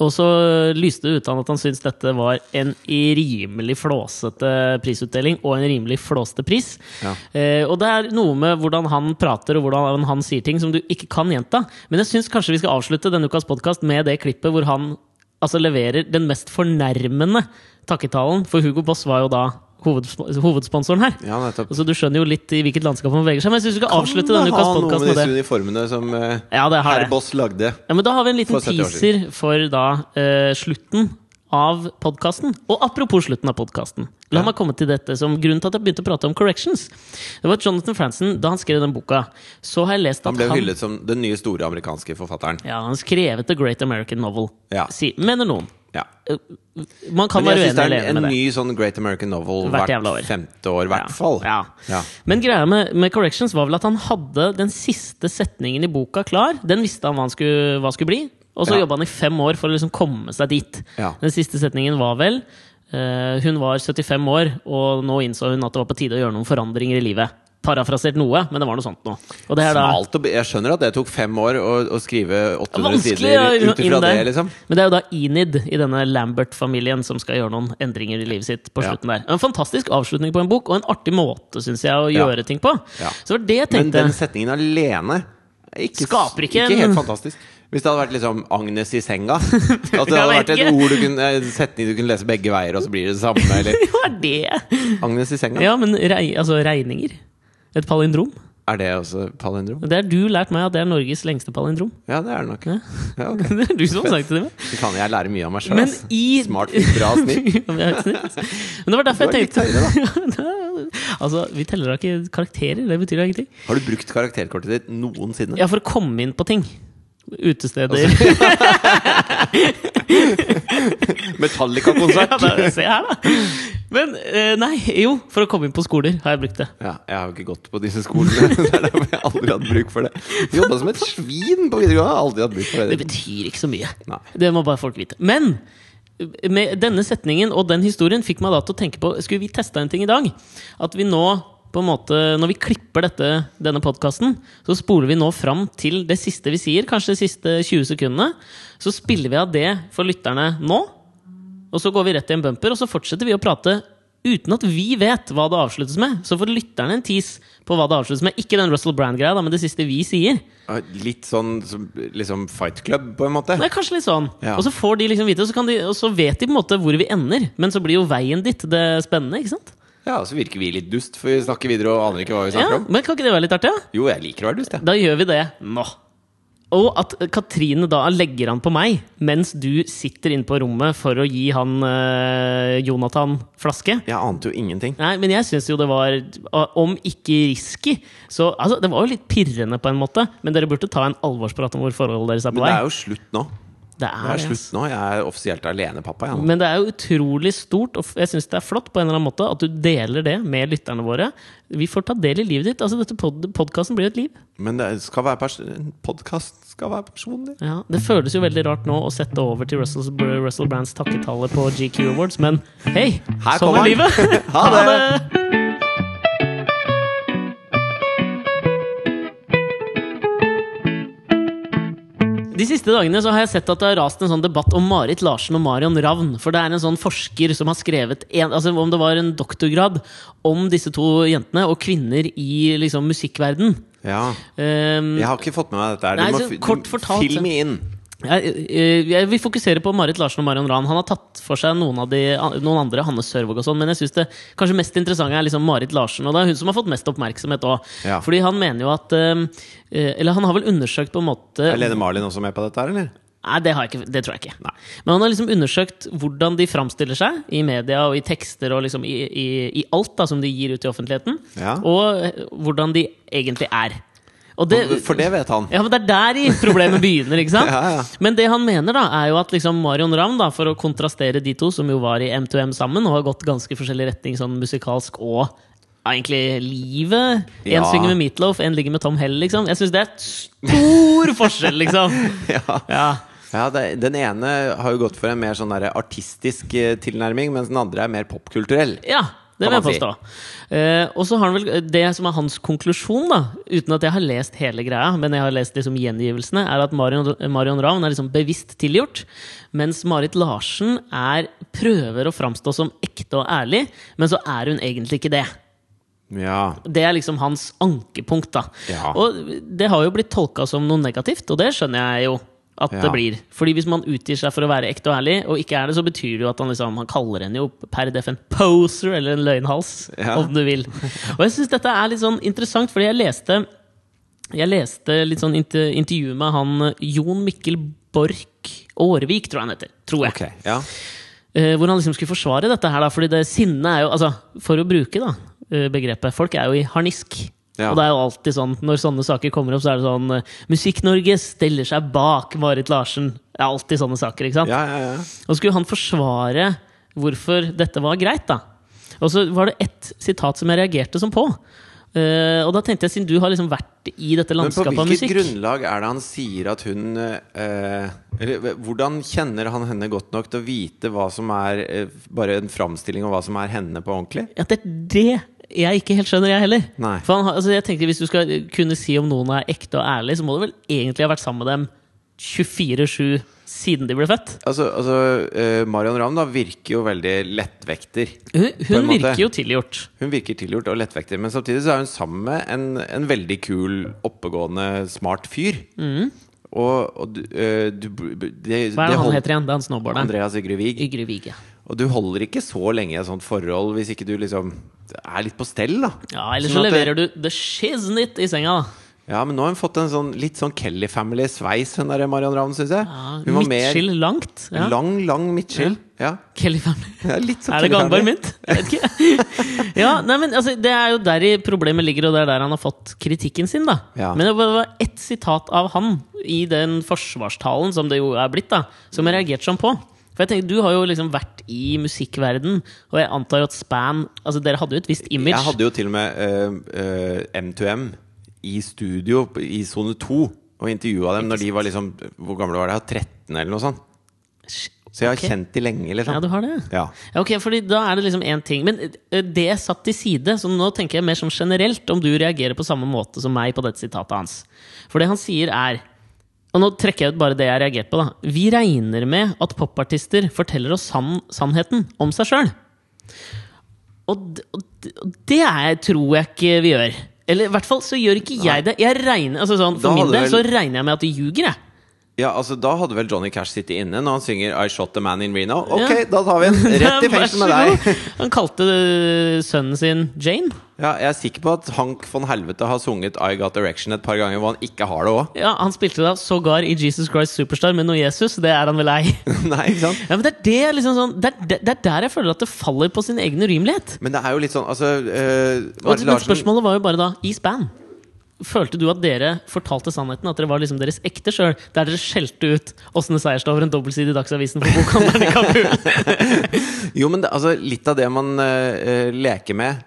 Speaker 2: Og så lyste det ut av at han syntes dette var en rimelig flåsete prisutdeling, og en rimelig flåsete pris.
Speaker 1: Ja.
Speaker 2: Eh, og det er noe med hvordan han prater og hvordan han sier ting som du ikke kan gjenta. Men jeg syns kanskje vi skal avslutte denne ukas podkast med det klippet hvor han altså, leverer den mest fornærmende takketalen, for Hugo Boss var jo da hovedsp hovedsponsoren her.
Speaker 1: Ja, nettopp.
Speaker 2: Så du skjønner jo litt i hvilket landskap man beveger seg. Men jeg syns vi skal avslutte denne ukas
Speaker 1: Ha noe
Speaker 2: podkast
Speaker 1: med
Speaker 2: med det.
Speaker 1: disse uniformene som eh,
Speaker 2: Ja, det har
Speaker 1: herr
Speaker 2: det.
Speaker 1: Boss lagde.
Speaker 2: Ja, men da har vi en liten
Speaker 1: For 70 år
Speaker 2: teaser for da eh, slutten av podkasten. Og apropos slutten av podkasten, la
Speaker 1: Ja.
Speaker 2: meg komme til dette som grunnen til at jeg begynte å prate om corrections. Det var Jonathan Franzen, da han skrev den boka, så har jeg lest
Speaker 1: Han
Speaker 2: at
Speaker 1: ble hyllet som den nye store amerikanske forfatteren.
Speaker 2: Ja, han skrevet The Great American Novel,
Speaker 1: Ja.
Speaker 2: si, mener noen.
Speaker 1: Ja.
Speaker 2: Eh, Man kan
Speaker 1: Men jeg syns
Speaker 2: være uenig
Speaker 1: det
Speaker 2: eller
Speaker 1: er en,
Speaker 2: enig
Speaker 1: en
Speaker 2: med det.
Speaker 1: ny sånn Great American Novel
Speaker 2: Hvert
Speaker 1: hvert,
Speaker 2: jævla år.
Speaker 1: femte år, i hvert fall.
Speaker 2: Ja.
Speaker 1: Ja.
Speaker 2: Men greia med, med corrections var vel at han hadde den siste setningen i boka klar. Den visste han hva han skulle, hva skulle bli, og så
Speaker 1: Ja.
Speaker 2: jobba han i fem år for å liksom komme seg dit.
Speaker 1: Ja.
Speaker 2: Den siste setningen var vel eh, Hun var 75 år, og nå innså hun at det var på tide å gjøre noen forandringer i livet. Parafrasert noe, men det var noe sånt noe. Og det er da
Speaker 1: Smalt å be- jeg skjønner at det tok fem år å, å skrive 800
Speaker 2: Vanskelig å
Speaker 1: sider ut ifra
Speaker 2: inn
Speaker 1: det,
Speaker 2: der.
Speaker 1: liksom.
Speaker 2: Men det er jo da Enid i denne Lambert-familien som skal gjøre noen endringer i livet sitt på
Speaker 1: Ja.
Speaker 2: slutten der. En fantastisk avslutning på en bok, og en artig måte, syns jeg, å
Speaker 1: Ja.
Speaker 2: gjøre ting på.
Speaker 1: Ja.
Speaker 2: Så det var det jeg
Speaker 1: Men
Speaker 2: tenkte.
Speaker 1: den setningen alene er ikke,
Speaker 2: Skaper ikke en-
Speaker 1: ikke helt fantastisk. Hvis det hadde vært liksom Agnes i senga. At det hadde
Speaker 2: Jeg
Speaker 1: vært
Speaker 2: vet
Speaker 1: et
Speaker 2: ikke.
Speaker 1: ord du kunne, en setning du kunne lese begge veier, og så blir det det samme. Eller
Speaker 2: Hva er det?
Speaker 1: Agnes i senga.
Speaker 2: Ja, men rei, altså, regninger. Et palindrom.
Speaker 1: Er det også palindrom?
Speaker 2: Det har du lært meg at det er Norges lengste palindrom.
Speaker 1: Ja, det er det nok. Ja, ok.
Speaker 2: Det er du som har sagt det til meg.
Speaker 1: Fy faen, jeg lærer mye av meg altså. sjøl.
Speaker 2: Men i
Speaker 1: Smart, bra snitt.
Speaker 2: Ja, men jeg er snill. Men det var derfor
Speaker 1: Du er
Speaker 2: jeg
Speaker 1: litt
Speaker 2: tenkte
Speaker 1: høyere,
Speaker 2: Altså, vi teller da ikke karakterer. Det betyr da ingenting.
Speaker 1: Har du brukt karakterkortet ditt noensinne?
Speaker 2: Ja, for å komme inn på ting. Utesteder ja,
Speaker 1: Metallica-konsert!
Speaker 2: da, Se her, da! Men eh, nei, jo, for å komme inn på skoler har jeg brukt det.
Speaker 1: Ja, jeg har jo ikke gått på disse skolene. Det er derfor jeg aldri hatt bruk for det. Jobba som et svin på videregående. har Aldri hatt bruk for
Speaker 2: Det
Speaker 1: det.
Speaker 2: betyr ikke så mye.
Speaker 1: Nei.
Speaker 2: Det må bare folk vite. Men med denne setningen og den historien fikk meg da til å tenke på Skulle vi testa en ting i dag? At vi nå på en måte, Når vi klipper dette, denne podkasten, så spoler vi nå fram til det siste vi sier. Kanskje de siste 20 sekundene. Så spiller vi av det for lytterne nå. Og så går vi rett i en bumper, og så fortsetter vi å prate uten at vi vet hva det avsluttes med. Så får lytterne en tease på hva det avsluttes med. Ikke den Russell Brand-greia, da, men det siste vi sier.
Speaker 1: Litt sånn som- liksom Fight Club, på en måte.
Speaker 2: Nei, kanskje litt sånn.
Speaker 1: Ja.
Speaker 2: Og så får de liksom vite, og så, kan de, og så vet de på en måte hvor vi ender. Men så blir jo veien dit det spennende, ikke sant?
Speaker 1: Ja, Så virker vi litt dust, for vi snakker videre og aner ikke hva vi
Speaker 2: Ja,
Speaker 1: snakker om.
Speaker 2: men kan ikke det være litt artig? Ja?
Speaker 1: Jo, jeg liker å være dust, jeg.
Speaker 2: Da gjør vi det nå. Og at Katrine da legger an på meg mens du sitter inne på rommet for å gi han eh, Jonathan flaske.
Speaker 1: Jeg ante jo ingenting.
Speaker 2: Nei, men jeg syns jo det var Om ikke risky, så altså, Det var jo litt pirrende på en måte, men dere burde ta en alvorsprat om hvor forholdet deres er på
Speaker 1: Men det
Speaker 2: vei.
Speaker 1: er jo slutt nå.
Speaker 2: Det
Speaker 1: Det er
Speaker 2: det,
Speaker 1: slutt nå. Jeg er offisielt alenepappa, jeg nå.
Speaker 2: Men det er jo utrolig stort, og f- jeg syns det er flott på en eller annen måte at du deler det med lytterne våre. Vi får ta del i livet ditt. Altså, dette pod podkasten blir et liv.
Speaker 1: Men det skal være pers en podkast skal være personlig.
Speaker 2: Ja, det føles jo veldig rart nå å sette over til Russell, Russell Brands takketale på GQ Awards, men hei!
Speaker 1: Her
Speaker 2: Sånn
Speaker 1: kommer han.
Speaker 2: er livet!
Speaker 1: Ha det.
Speaker 2: De siste dagene så har jeg sett at det har rast en sånn debatt om Marit Larsen og Marion Ravn. For det er en sånn forsker som har skrevet en, altså om det var en doktorgrad om disse to jentene og kvinner i liksom musikkverden.
Speaker 1: Ja.
Speaker 2: Ehm,
Speaker 1: Jeg har ikke fått med meg dette her. Du
Speaker 2: Nei,
Speaker 1: må
Speaker 2: så
Speaker 1: fi-
Speaker 2: kort
Speaker 1: du-
Speaker 2: fortalt, så-
Speaker 1: Film inn.
Speaker 2: jeg, eh, jeg vil fokusere på Marit Larsen og Marion Ravn. Han har tatt for seg noen, av de, noen andre, Hanne Sørvåg og sånn, men jeg synes det kanskje mest interessante er liksom Marit Larsen. Og det er hun som har fått mest oppmerksomhet òg.
Speaker 1: Ja.
Speaker 2: Fordi han mener jo at eh, eh, Eller han har vel undersøkt på en måte
Speaker 1: Er Lene Marlin også med på dette her, eller?
Speaker 2: Nei, det, har jeg ikke, det tror jeg ikke. Men han har liksom undersøkt hvordan de framstiller seg i media og i tekster og liksom i, i, i alt da, som de gir ut i offentligheten,
Speaker 1: Ja.
Speaker 2: og eh, hvordan de egentlig er. Og det,
Speaker 1: For det vet han.
Speaker 2: ja, men Det er der i problemet begynner. ikke sant?
Speaker 1: Ja, ja.
Speaker 2: Men det han mener, da, er jo at liksom Marion Ravn, da, for å kontrastere de to, som jo var i M2M sammen, og har gått ganske forskjellig retning sånn musikalsk og ja, egentlig livet. Én
Speaker 1: Ja.
Speaker 2: synger med Meatloaf, én ligger med Tom Hell. liksom. Jeg syns det er et stor forskjell, liksom!
Speaker 1: Ja.
Speaker 2: Ja.
Speaker 1: Ja, det, Den ene har jo gått for en mer sånn der artistisk eh, tilnærming, mens den andre er mer popkulturell.
Speaker 2: Ja, det
Speaker 1: Kan
Speaker 2: vil jeg
Speaker 1: man si.
Speaker 2: påstå. Eh, og så har han vel Det som er hans konklusjon, da, uten at jeg har lest hele greia, men jeg har lest liksom gjengivelsene, er at Marion, Marion Ravn er liksom bevisst tilgjort, mens Marit Larsen er, prøver å framstå som ekte og ærlig, men så er hun egentlig ikke det.
Speaker 1: Ja,
Speaker 2: Det er liksom hans ankepunkt. da
Speaker 1: Ja.
Speaker 2: Og det har jo blitt tolka som noe negativt, og det skjønner jeg jo. at
Speaker 1: Ja.
Speaker 2: det blir. Fordi hvis man utgir seg for å være ekte og ærlig, og ikke er det, så betyr det jo at han liksom Han kaller henne jo per def en poser eller en løgnhals,
Speaker 1: Ja.
Speaker 2: om du vil. Og jeg syns dette er litt sånn interessant, fordi jeg leste jeg leste litt sånn inter intervju med han eh, Jon Mikkel Borch Aarevik, tror jeg han heter. Tror jeg.
Speaker 1: Ok, ja.
Speaker 2: Eh, hvor han liksom skulle forsvare dette her, da. Fordi det sinnet er jo Altså, for å bruke da eh, begrepet Folk er jo i harnisk.
Speaker 1: Ja.
Speaker 2: Og det er jo alltid sånn, når sånne saker kommer opp, så er det sånn eh, Musikk-Norge stiller seg bak Marit Larsen. Det er alltid sånne saker, ikke sant?
Speaker 1: Ja, ja, ja.
Speaker 2: Og skulle han forsvare hvorfor dette var greit, da. Og så var det ett sitat som jeg reagerte som på. Eh, og da tenkte jeg, siden du har liksom vært i dette
Speaker 1: Men på
Speaker 2: landskapet av
Speaker 1: hvilket
Speaker 2: musikk
Speaker 1: grunnlag er det han sier at hun eh, Eller hvordan kjenner han henne godt nok til å vite hva som er eh, bare en framstilling av hva som er henne på ordentlig?
Speaker 2: At det er det jeg ikke helt skjønner, jeg heller.
Speaker 1: Nei.
Speaker 2: For han, har- altså jeg tenker Hvis du skal kunne si om noen er ekte og ærlig, så må du vel egentlig ha vært sammen med dem 24-7 siden de ble født?
Speaker 1: Altså, altså eh, Marion Ravn da virker jo veldig lettvekter.
Speaker 2: Hun,
Speaker 1: På en
Speaker 2: hun
Speaker 1: måte.
Speaker 2: virker jo tilgjort.
Speaker 1: Hun virker tilgjort og lettvektig, men samtidig så er hun sammen med en, en veldig kul, oppegående, smart fyr. Og, og du, øh, du det,
Speaker 2: Mm. Hva er
Speaker 1: det
Speaker 2: det han
Speaker 1: hold-
Speaker 2: heter igjen? Det er han snowboarderen.
Speaker 1: Andreas Ygre Wiig.
Speaker 2: Ygre Vige.
Speaker 1: Og du holder ikke så lenge i et sånt forhold hvis ikke du liksom er litt på stell, da.
Speaker 2: Ja, ellers
Speaker 1: Sånn
Speaker 2: så
Speaker 1: at
Speaker 2: leverer
Speaker 1: det-
Speaker 2: du the shiznit i senga, da.
Speaker 1: Ja, men nå har hun fått en sånn litt sånn Kelly Family-sveis, hun der Marion Ravn, syns jeg.
Speaker 2: Ja,
Speaker 1: hun var mer
Speaker 2: Midtskill langt. Ja.
Speaker 1: lang, lang midtskill. Ja.
Speaker 2: Kelly Family.
Speaker 1: Ja, litt sånn
Speaker 2: Er
Speaker 1: Kelly
Speaker 2: det gangbar
Speaker 1: Family.
Speaker 2: mynt? Jeg vet ikke. Ja, nei, men altså, Det er jo der i problemet ligger, og det er der han har fått kritikken sin. da
Speaker 1: Ja.
Speaker 2: Men det var ett sitat av han i den forsvarstalen som det jo er blitt, da som jeg reagerte sånn på. For jeg tenker, Du har jo liksom vært i musikkverden, og jeg antar jo at Span Altså Dere hadde jo et visst image.
Speaker 1: Jeg hadde jo til og med eh, eh, M2M i studio på- i sone 2 og intervjua dem når de var liksom Hvor gamle var de? 13 eller noe sånt? Så jeg har
Speaker 2: Ok.
Speaker 1: kjent de lenge,
Speaker 2: Ja,
Speaker 1: liksom.
Speaker 2: du har det?
Speaker 1: Ja.
Speaker 2: Ja, Ok, fordi da er det liksom én ting. Men eh, det er satt til side, så nå tenker jeg mer sånn generelt om du reagerer på samme måte som meg på dette sitatet hans. For det han sier er og nå trekker jeg ut bare det jeg har reagert på. da Vi regner med at popartister forteller oss sann, sannheten om seg sjøl. Og, d- og, d- og det er, tror jeg ikke vi gjør. Eller i hvert fall så gjør ikke jeg det. Jeg regner, altså sånn,
Speaker 1: Da
Speaker 2: For min
Speaker 1: hadde
Speaker 2: del så
Speaker 1: vel-
Speaker 2: regner jeg med at de ljuger, jeg.
Speaker 1: ja, altså Da hadde vel Johnny Cash sittet inne når han synger I Shot The Man In Reno. Ok,
Speaker 2: Ja.
Speaker 1: da tar vi en rett i
Speaker 2: Vær
Speaker 1: fengsel
Speaker 2: så
Speaker 1: med deg!
Speaker 2: god. Han kalte øh, sønnen sin Jane.
Speaker 1: Ja, Jeg er sikker på at Hank von Helvete har sunget I Got Erection et par ganger hvor han ikke har det òg.
Speaker 2: Ja, Han spilte da sågar i Jesus Christ Superstar med noe Jesus. Det er han vel ei.
Speaker 1: Nei, ikke sant?
Speaker 2: Ja, men det er, det, liksom sånn, det, er, det, det er der jeg føler at det faller på sin egen urimelighet.
Speaker 1: Men det er jo litt sånn Altså eh,
Speaker 2: Og
Speaker 1: Marit
Speaker 2: men
Speaker 1: Larsen
Speaker 2: spørsmålet var jo bare da i span. Følte du at dere fortalte sannheten? At dere var liksom deres ekte sjøl? Der dere skjelte ut Åsne Seierstad over en dobbeltside i Dagsavisen for bokhandleren i Kabul?
Speaker 1: Jo, men det, altså, litt av det man eh, eh, leker med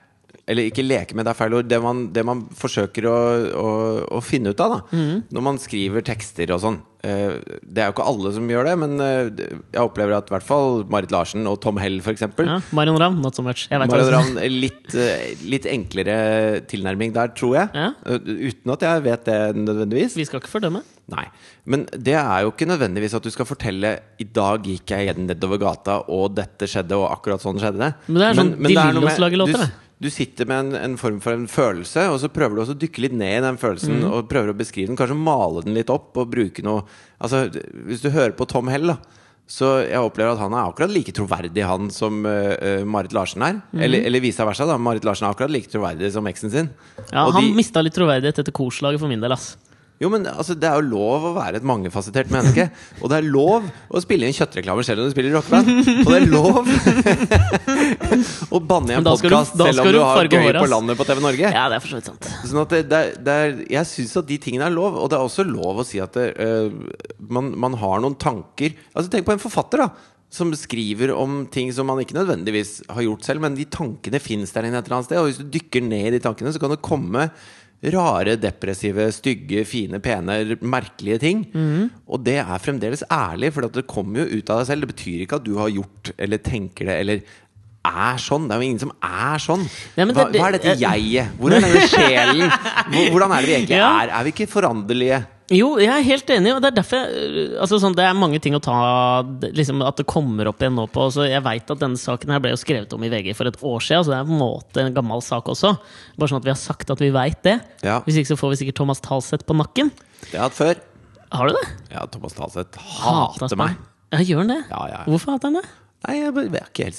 Speaker 1: Eller ikke leker med, det er feil ord. Det man, det man forsøker å, å, å finne ut av da,
Speaker 2: Mhm.
Speaker 1: når man skriver tekster og sånn. eh, det er jo ikke alle som gjør det, men eh, det- jeg opplever at i hvert fall Marit Larsen og Tom Hell f.eks.
Speaker 2: Ja, Marion Ravn, not so much. Jeg vet hva
Speaker 1: Marit
Speaker 2: det er.
Speaker 1: Ravn, litt, eh, litt enklere tilnærming der, tror jeg.
Speaker 2: Ja.
Speaker 1: Eh, Uten at jeg vet det nødvendigvis.
Speaker 2: Vi skal ikke fordømme.
Speaker 1: Nei, men det er jo ikke nødvendigvis at du skal fortelle I dag gikk jeg igjen nedover gata, og dette skjedde, og akkurat sånn skjedde.
Speaker 2: Men det er sånn De
Speaker 1: det er noe
Speaker 2: Lillos
Speaker 1: med-
Speaker 2: lager
Speaker 1: du,
Speaker 2: låter, det.
Speaker 1: du sitter med en, en form for en følelse, og så prøver du også å dykke litt ned i den følelsen,
Speaker 2: Mm.
Speaker 1: og prøver å beskrive den, kanskje male den litt opp, og bruke noe Altså, hvis du hører på Tom Hell, da. Så jeg opplever at han er akkurat like troverdig han som øh, øh, Marit Larsen er.
Speaker 2: Mm.
Speaker 1: Eller, eller vice versa. da Marit Larsen er akkurat like troverdig som eksen sin.
Speaker 2: Ja,
Speaker 1: Og
Speaker 2: han
Speaker 1: de-
Speaker 2: mista litt troverdighet etter korslaget for min del. ass
Speaker 1: jo, men altså, Det er jo lov å være et mangefasettert menneske. Og det er lov å spille inn kjøttreklamer selv om du spiller i rockeband. Og det er lov å banne i en
Speaker 2: Men da skal du-
Speaker 1: podkast
Speaker 2: da
Speaker 1: selv om
Speaker 2: skal
Speaker 1: du
Speaker 2: du
Speaker 1: har
Speaker 2: farge
Speaker 1: gøy
Speaker 2: håret,
Speaker 1: på
Speaker 2: ass.
Speaker 1: landet på TV Norge.
Speaker 2: Ja, det er for så vidt sant.
Speaker 1: Sånn at det, det, er- det er, Jeg syns at de tingene er lov. Og det er også lov å si at det, øh, man, man har noen tanker Altså Tenk på en forfatter da som skriver om ting som man ikke nødvendigvis har gjort selv, men de tankene fins der inne et eller annet sted. Og hvis du dykker ned i de tankene, så kan det komme rare, depressive, stygge, fine, pene, merkelige ting.
Speaker 2: Mhm.
Speaker 1: Og det er fremdeles ærlig, for at det kommer jo ut av deg selv. Det betyr ikke at du har gjort eller tenker det eller er sånn. Det er jo ingen som er sånn.
Speaker 2: Nei, men
Speaker 1: hva,
Speaker 2: det- det-
Speaker 1: hva er dette jeget? Hvor er denne sjelen? Hvor- Hvordan er det vi egentlig
Speaker 2: Ja.
Speaker 1: er? Er vi ikke foranderlige?
Speaker 2: Jo, jeg er helt enig. og Det er derfor jeg, altså sånn, det er mange ting å ta d- liksom, At det kommer opp igjen nå på. Så jeg veit at denne saken her ble jo skrevet om i VG for et år siden. Så det er på en måte en gammel sak også. Bare sånn at vi har sagt at vi veit det.
Speaker 1: Ja.
Speaker 2: Hvis ikke så får vi sikkert Thomas Talseth på nakken.
Speaker 1: Det har jeg hatt før.
Speaker 2: Har du det?
Speaker 1: Ja, Thomas Dahlseth hater meg.
Speaker 2: Ja, gjør han det?
Speaker 1: Ja, ja, ja.
Speaker 2: Hvorfor hater han det?
Speaker 1: Nei, jeg bare- jeg er ikke helt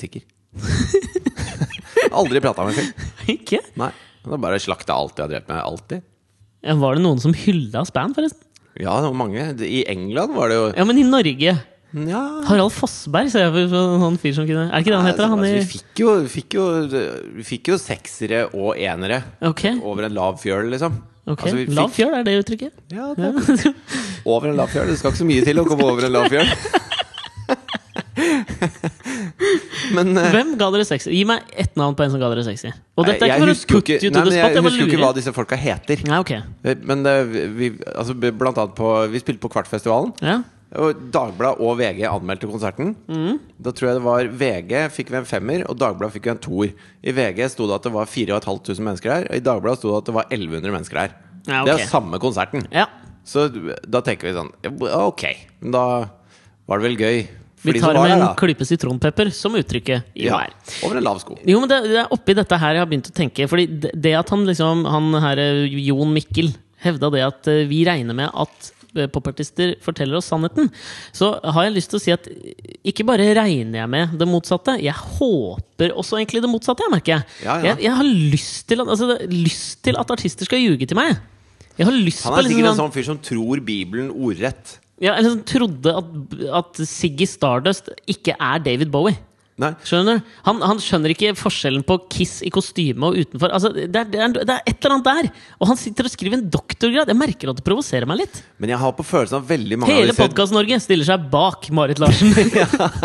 Speaker 1: sikker. Aldri prata med ham før.
Speaker 2: Ikke?
Speaker 1: Nei. Han har bare slakta alt jeg har drevet med. Alltid.
Speaker 2: Ja, var det noen som hylla Span, forresten?
Speaker 1: Ja, det var mange. I England var det jo
Speaker 2: Ja, men i Norge
Speaker 1: Nja
Speaker 2: Harald Fossberg ser jeg for for en sånn fyr som kunne Er det ikke det han heter? da? Han
Speaker 1: altså, vi
Speaker 2: i
Speaker 1: fikk jo, fikk, jo, vi fikk jo seksere og enere
Speaker 2: Ok,
Speaker 1: over en lav fjøl, liksom.
Speaker 2: ok.
Speaker 1: Altså, vi fikk-
Speaker 2: Lav fjøl, er det uttrykket?
Speaker 1: Ja, det
Speaker 2: Ja.
Speaker 1: er Over en lav fjøl? Det skal ikke så mye til å komme over en lav fjøl. Men eh,
Speaker 2: Hvem ga dere sexy? Gi meg ett navn på en som ga dere sexy. Og dette er
Speaker 1: jeg
Speaker 2: ikke for å
Speaker 1: husker jo
Speaker 2: put you
Speaker 1: nei,
Speaker 2: to the
Speaker 1: men
Speaker 2: spot.
Speaker 1: Jeg
Speaker 2: Jeg bare
Speaker 1: husker jo ikke hva
Speaker 2: lurer.
Speaker 1: disse folka heter.
Speaker 2: Nei, ok.
Speaker 1: Men det, vi, altså, blant annet på Vi spilte på Kvartfestivalen.
Speaker 2: Ja.
Speaker 1: Og Dagbladet og VG anmeldte konserten.
Speaker 2: Mm.
Speaker 1: Da tror jeg det var VG fikk vi en femmer, og Dagbladet fikk vi en toer. I VG sto det at det var 4500 mennesker her, og i Dagbladet sto det at det var 1100 mennesker her. Det
Speaker 2: Ja, ok.
Speaker 1: er jo samme konserten.
Speaker 2: ja.
Speaker 1: Så da tenker vi sånn ja, Ok, men da var det vel gøy.
Speaker 2: Vi
Speaker 1: de
Speaker 2: tar
Speaker 1: som var
Speaker 2: med
Speaker 1: der,
Speaker 2: en
Speaker 1: da.
Speaker 2: klype sitronpepper, som uttrykket jo
Speaker 1: ja,
Speaker 2: er.
Speaker 1: Over en lav sko.
Speaker 2: Jo, men det, det er oppi dette her jeg har begynt å tenke. Fordi det- det at han liksom Han her eh, Jon Mikkel hevda det at eh, vi regner med at eh, popartister forteller oss sannheten. Så har jeg lyst til å si at eh, ikke bare regner jeg med det motsatte, jeg håper også egentlig det motsatte, jeg merker jeg.
Speaker 1: Ja, ja.
Speaker 2: Jeg, jeg har lyst til, at, altså, det- lyst til at artister skal ljuge til meg. Jeg har lyst
Speaker 1: Han
Speaker 2: på
Speaker 1: er
Speaker 2: liksom
Speaker 1: sikkert en
Speaker 2: sånn-
Speaker 1: sånn fyr som tror Bibelen ordrett.
Speaker 2: ja, Jeg liksom trodde at, at Siggy Stardust ikke er David Bowie.
Speaker 1: Nei.
Speaker 2: Skjønner du? Han, han skjønner ikke forskjellen på Kiss i kostyme og utenfor. Altså, det, er, det, er, det er et eller annet der! Og han sitter og skriver en doktorgrad! Jeg merker at det provoserer meg litt.
Speaker 1: Men jeg har på følelsen at veldig mange av
Speaker 2: Hele
Speaker 1: disse
Speaker 2: Podkast-Norge stiller seg bak Marit Larsen.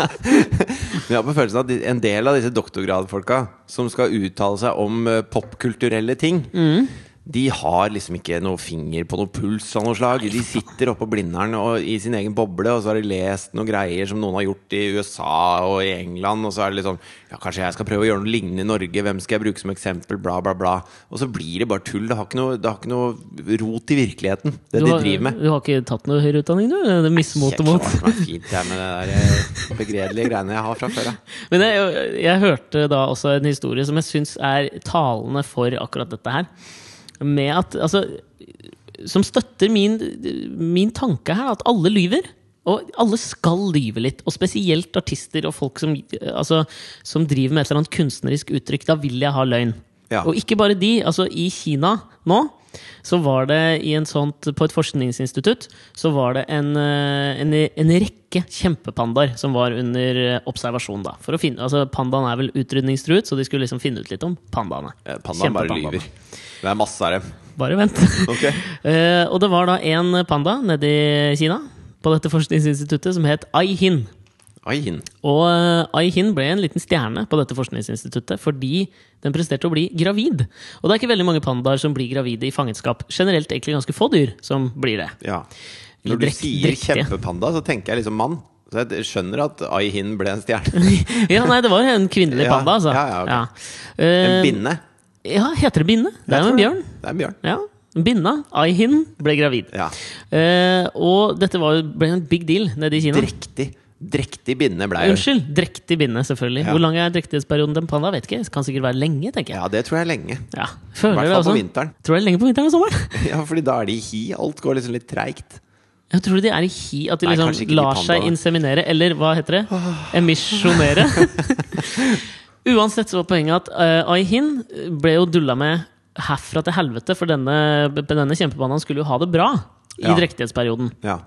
Speaker 1: Men jeg har på følelsen at de- en del av disse doktorgradfolka som skal uttale seg om eh, popkulturelle ting,
Speaker 2: Mm.
Speaker 1: de har liksom ikke noe finger på noe puls av noe slag. De sitter oppå Blindern og, i sin egen boble, og så har de lest noen greier som noen har gjort i USA og i England, og så er det litt sånn Ja, kanskje jeg skal prøve å gjøre noe lignende i Norge, hvem skal jeg bruke som eksempel, bla, bla, bla. Og så blir det bare tull. Det har ikke noe, det har ikke noe rot i virkeligheten, det
Speaker 2: Du
Speaker 1: de
Speaker 2: har,
Speaker 1: driver med.
Speaker 2: du har ikke tatt noe høyere utdanning, du? Det er mismot og mot.
Speaker 1: Klart meg fint jeg, med det der eh, begredelige greiene jeg har fra før, ja.
Speaker 2: Men jeg, jeg hørte da også en historie som jeg syns er talende for akkurat dette her. Med at, altså, som støtter min, min tanke her, at alle lyver. Og alle skal lyve litt. Og spesielt artister og folk som, altså, som driver med et eller annet kunstnerisk uttrykk. Da vil jeg ha løgn.
Speaker 1: Ja.
Speaker 2: Og ikke bare de. altså I Kina nå så var det i en sånt, på et forskningsinstitutt så var det en, eh, en, en rekke kjempepandaer som var under eh, observasjon. da for å finne, altså Pandaen er vel utrydningstruet, så de skulle liksom finne ut litt om pandaene.
Speaker 1: Eh, Pandaen bare
Speaker 2: Kjempepandaene.
Speaker 1: lyver. Det er masse av dem.
Speaker 2: Bare vent. Eh, og det var da en panda nede i Kina på dette forskningsinstituttet som het Ai Hin.
Speaker 1: Oi, hin.
Speaker 2: Og eh, Ai Hin ble en liten stjerne på dette forskningsinstituttet fordi den presterte å bli gravid. Og det er ikke veldig mange pandaer som blir gravide i fangenskap. Generelt egentlig ganske få dyr som blir det.
Speaker 1: Ja.
Speaker 2: Eller
Speaker 1: Når du
Speaker 2: drekt-
Speaker 1: sier
Speaker 2: drektige.
Speaker 1: kjempepanda, så tenker jeg liksom mann. Så jeg skjønner at Ai Hin ble en stjerne.
Speaker 2: Ja, nei, det var jo en kvinnelig
Speaker 1: Ja,
Speaker 2: panda, altså.
Speaker 1: ja, ja, ok.
Speaker 2: Ja. Eh,
Speaker 1: En binne.
Speaker 2: Ja, heter det binne? Det
Speaker 1: Jeg
Speaker 2: er jo
Speaker 1: tror
Speaker 2: en bjørn.
Speaker 1: Det er en bjørn.
Speaker 2: Ja, Binna, Ai Hin, ble gravid.
Speaker 1: Ja.
Speaker 2: Eh, og dette var, jo- ble en big deal nede i Kina.
Speaker 1: Drektig. Drektig binne blei hun.
Speaker 2: Unnskyld! Drektig binde, selvfølgelig.
Speaker 1: Ja.
Speaker 2: Hvor lang er drektighetsperioden til en panda? Vet ikke. Kan sikkert være lenge, tenker jeg.
Speaker 1: Ja, det tror jeg er lenge.
Speaker 2: Ja,
Speaker 1: I
Speaker 2: føler
Speaker 1: hvert
Speaker 2: det
Speaker 1: fall
Speaker 2: også.
Speaker 1: på vinteren.
Speaker 2: Tror du det er lenge på vinteren og sommeren?
Speaker 1: Ja, fordi da er de i hi. Alt går liksom litt treigt.
Speaker 2: Jeg tror de er i hi, at de
Speaker 1: Nei,
Speaker 2: liksom
Speaker 1: kanskje ikke de
Speaker 2: lar
Speaker 1: pandaene.
Speaker 2: seg inseminere, eller hva heter det? Emisjonere. Uansett så var poenget at eh, Ai Hin ble jo dulla med herfra til helvete, for denne, denne kjempepandaen skulle jo ha det bra i
Speaker 1: Ja.
Speaker 2: drektighetsperioden.
Speaker 1: Ja.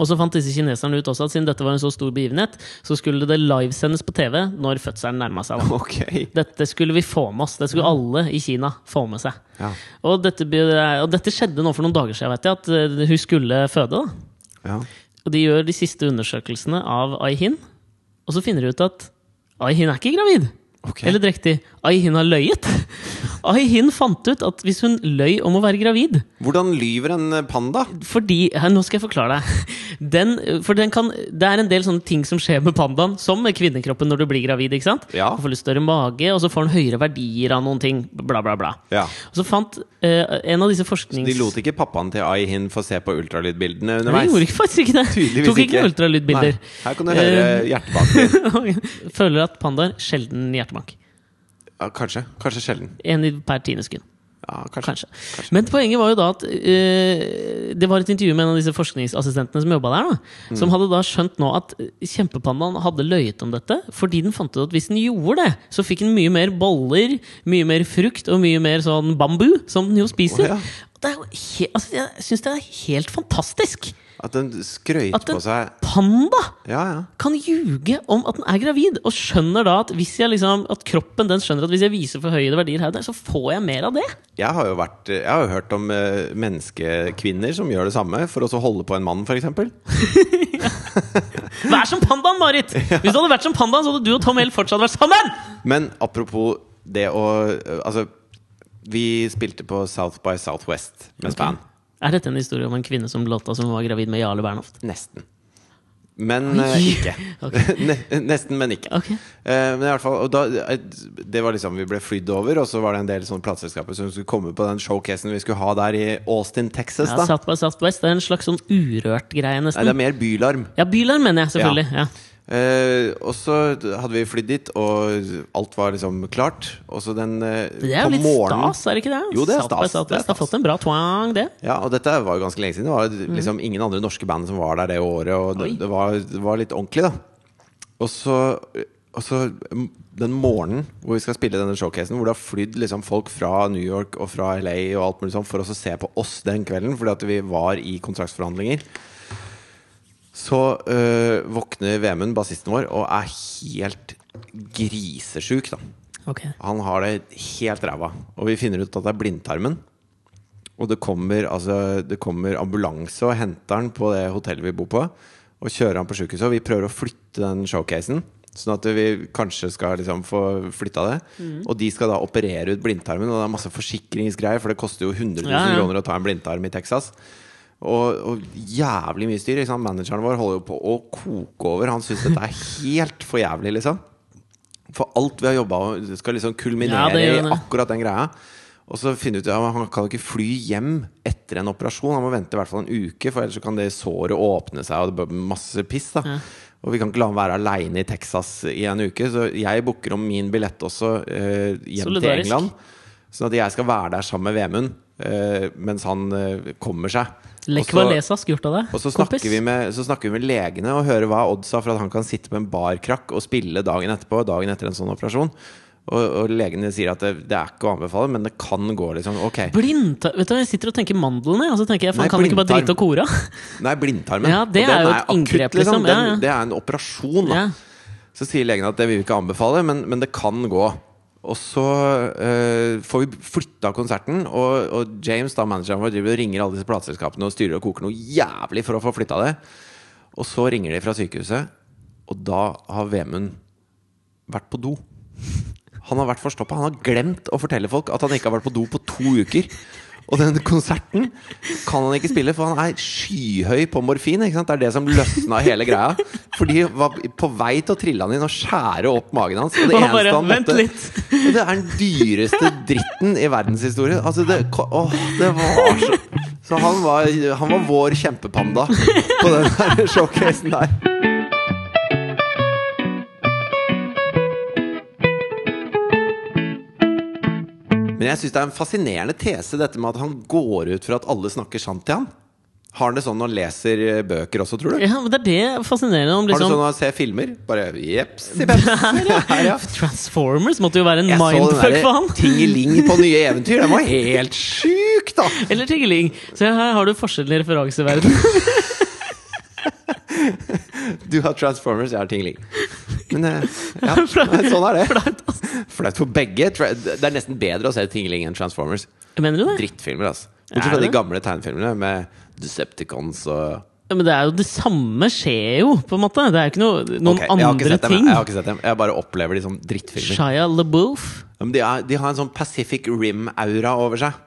Speaker 2: Og så fant disse kineserne ut også at siden dette var en så stor begivenhet, så skulle det livesendes på TV når fødselen nærma seg. da.
Speaker 1: Ok.
Speaker 2: Dette skulle vi få med oss. Det skulle
Speaker 1: Mm.
Speaker 2: alle i Kina få med seg.
Speaker 1: Ja.
Speaker 2: Og, dette, be- og dette skjedde nå for noen dager siden, vet jeg, at eh, hun skulle føde. da
Speaker 1: Ja.
Speaker 2: og de gjør de siste undersøkelsene av Ai Hin. Og så finner de ut at Ai Hin er ikke gravid.
Speaker 1: Ok.
Speaker 2: Eller drektig. Ai Hin har løyet. Ai Hin fant ut at hvis hun løy om å være gravid
Speaker 1: Hvordan lyver en panda?
Speaker 2: Fordi her, Nå skal jeg forklare deg. Den, for den kan, det er en del sånne ting som skjer med pandaen, som med kvinnekroppen når du blir gravid. ikke sant?
Speaker 1: Ja.
Speaker 2: Du får litt større mage, og så får den høyere verdier av noen ting. Bla, bla, bla.
Speaker 1: Ja.
Speaker 2: Og så fant eh, en av disse forsknings...
Speaker 1: De lot ikke pappaen til Ai Hin få se på ultralydbildene
Speaker 2: Nei, de
Speaker 1: underveis.
Speaker 2: gjorde ikke- faktisk ikke det.
Speaker 1: Tydeligvis
Speaker 2: Tok ikke, noen ultralydbilder. Eh,
Speaker 1: Nei. Her kan du høre hjertebanken.
Speaker 2: Føler at pandaer sjelden hjertebank.
Speaker 1: Ja, kanskje. Kanskje sjelden.
Speaker 2: En i per tiende sekund.
Speaker 1: Ja, kanskje.
Speaker 2: Kanskje. Men poenget var jo da at eh, det var et intervju med en av disse forskningsassistentene som jobba der, da,
Speaker 1: Mm.
Speaker 2: som hadde da skjønt nå at kjempepandaen hadde løyet om dette, fordi den fant ut at hvis den gjorde det, så fikk den mye mer boller, mye mer frukt og mye mer sånn bambu, som den jo
Speaker 1: Å,
Speaker 2: spiser.
Speaker 1: ja.
Speaker 2: Og Det er jo he altså, jeg syns det er helt fantastisk
Speaker 1: At den skrøyt
Speaker 2: at
Speaker 1: på
Speaker 2: en
Speaker 1: seg
Speaker 2: panda
Speaker 1: Ja, ja.
Speaker 2: kan ljuge om at den er gravid, og skjønner da at, hvis jeg liksom, at kroppen den skjønner at hvis jeg viser forhøyede verdier her og der, så får jeg mer av det.
Speaker 1: Jeg har jo vært, jeg har jo hørt om eh, menneskekvinner som gjør det samme, for å så holde på en mann, f.eks.
Speaker 2: Vær som pandaen, Marit! Hvis du hadde vært som pandaen, så hadde du og Tom L fortsatt vært sammen!
Speaker 1: Men apropos det å eh, Altså, vi spilte på South by Southwest med Span.
Speaker 2: Er dette en historie om en kvinne som låta som hun var gravid med Jarle Bernhoft?
Speaker 1: Nesten. Men eh, ikke. Ne- Nesten, men ikke.
Speaker 2: Ok.
Speaker 1: Eh, men i hvert fall, og da, eh, det var liksom Vi ble flydd over, og så var det en del sånne plateselskaper som skulle komme på den showcasen vi skulle ha der i Austin, Texas.
Speaker 2: Ja,
Speaker 1: da
Speaker 2: South by Southwest det er en slags sånn urørt greie,
Speaker 1: Nei, det
Speaker 2: nesten.
Speaker 1: er mer Bylarm.
Speaker 2: Ja, Bylarm mener jeg, selvfølgelig. Ja.
Speaker 1: Eh, og så hadde vi flydd dit, og alt var liksom klart. Og så den eh,
Speaker 2: Det er jo
Speaker 1: på
Speaker 2: litt
Speaker 1: morgenen
Speaker 2: stas, er det ikke det?
Speaker 1: Jo, det er
Speaker 2: South
Speaker 1: stas, det
Speaker 2: by
Speaker 1: er
Speaker 2: Southwest har
Speaker 1: stas.
Speaker 2: fått en bra twang, det.
Speaker 1: Ja, og dette var jo ganske lenge siden. Det var liksom ingen andre norske band som var der det året. Og det,
Speaker 2: Oi.
Speaker 1: det, var, det var litt ordentlig, da. Og så, og så mm, den morgenen hvor vi skal spille denne showcasen, hvor det har flydd liksom folk fra New York og fra LA og alt mulig sånn for oss å se på oss den kvelden, fordi at vi var i kontraktsforhandlinger. Så øh, våkner Vemund, bassisten vår, og er helt grisesjuk, da.
Speaker 2: Ok.
Speaker 1: Han har det helt ræva. Og vi finner ut at det er blindtarmen. Og det kommer, altså, det kommer ambulanse og henter han på det hotellet vi bor på. Og kjører han på sjukehuset. Og vi prøver å flytte den showcasen. Sånn at vi kanskje skal liksom få flytta det.
Speaker 2: Mm.
Speaker 1: Og de skal da operere ut blindtarmen. Og det er masse forsikringsgreier, for det koster jo 100 000
Speaker 2: Ja, ja.
Speaker 1: kroner å ta en blindtarm i Texas. Og, og jævlig mye styr. Ikke sant? Manageren vår holder jo på å koke over. Han syns dette er helt for jævlig, liksom. For alt vi har jobba med, skal liksom
Speaker 2: Ja,
Speaker 1: kulminere
Speaker 2: det gjør
Speaker 1: i
Speaker 2: det.
Speaker 1: akkurat den greia. Og så finner vi ut ja, men han kan ikke fly hjem etter en operasjon. Han må vente i hvert fall en uke, for ellers så kan det såret åpne seg. Og det blir masse piss da Og vi kan ikke la ham være aleine i Texas i en uke. Så jeg booker om min billett også eh, hjem til
Speaker 2: Solidarisk.
Speaker 1: England. Sånn at jeg skal være der sammen med Vemund eh, mens han eh, kommer seg. Og
Speaker 2: Lech
Speaker 1: så-
Speaker 2: Walesa skjort av deg,
Speaker 1: og så snakker, vi med, så snakker vi med legene og hører hva oddsa for at han kan sitte på en barkrakk og spille dagen etterpå. Dagen etter en sånn operasjon Og, og legene sier at det, det er ikke å anbefale, men det kan gå. liksom Ok,
Speaker 2: Blindtarm Vet du hva, jeg sitter og tenker mandlene, og så tenker jeg faen,
Speaker 1: Nei,
Speaker 2: kan du ikke bare
Speaker 1: blindtarm.
Speaker 2: drite og kore av?
Speaker 1: Nei, blindtarmen.
Speaker 2: Ja, det
Speaker 1: Og den
Speaker 2: er jo et inngrep, liksom.
Speaker 1: Den,
Speaker 2: Ja, ja.
Speaker 1: Det er en operasjon. da
Speaker 2: Ja.
Speaker 1: Så sier legen at det vil vi ikke anbefale, men, men det kan gå. Og så eh, får vi flytta konserten, og, og James, da manageren vår, driver og ringer alle disse plateselskapene og styrer og koker noe jævlig for å få flytta det. Og så ringer de fra sykehuset, og da har Vemund vært på do. Han har vært forstoppa. Han har glemt å fortelle folk at han ikke har vært på do på to uker. Og den konserten kan han ikke spille, for han er skyhøy på morfin. Ikke sant? Det er det som løsna hele greia. For de var på vei til å trille han inn og skjære opp magen hans. Og
Speaker 2: Og han bare, "Vent
Speaker 1: Og det er den dyreste dritten i verdenshistorien. Altså, det, ko- åh, det var så Så han var, han var vår kjempepanda på den der showcasen der. Men jeg syns det er en fascinerende tese, dette med at han går ut fra at alle snakker sant til han. Har han det sånn når han leser eh, bøker også, tror du?
Speaker 2: Ja, men det er det fascinerende om
Speaker 1: Har du sånn
Speaker 2: liksom
Speaker 1: når han ser filmer? Bare jeps i beps. Her, ja.
Speaker 2: Transformers måtte jo være en
Speaker 1: Jeg så
Speaker 2: mindfuck
Speaker 1: den
Speaker 2: for han!
Speaker 1: der Tingeling på nye eventyr. Den var helt sjuk, da!
Speaker 2: Eller Tingeling. Så her har du forskjellen i referanseverden.
Speaker 1: Du har Transformers, jeg har Tingeling. Men eh, ja, nei, sånn er det.
Speaker 2: Flaut, ass.
Speaker 1: Flaut for begge. Tra- Det er nesten bedre å se Tingeling enn Transformers.
Speaker 2: Mener du det?
Speaker 1: Drittfilmer, altså. Bortsett
Speaker 2: Er
Speaker 1: fra de
Speaker 2: det?
Speaker 1: gamle tegnefilmene med Decepticons og
Speaker 2: Ja, Men det er jo det samme skjer jo, på en måte. Det er jo ikke noe, noen
Speaker 1: Ok, jeg har ikke
Speaker 2: andre
Speaker 1: sett dem,
Speaker 2: ting.
Speaker 1: Jeg, jeg har ikke sett dem. Jeg bare opplever de som drittfilmer.
Speaker 2: Shia LaBeouf,
Speaker 1: Ja, Men de, er, de har en sånn Pacific Rim-aura over seg.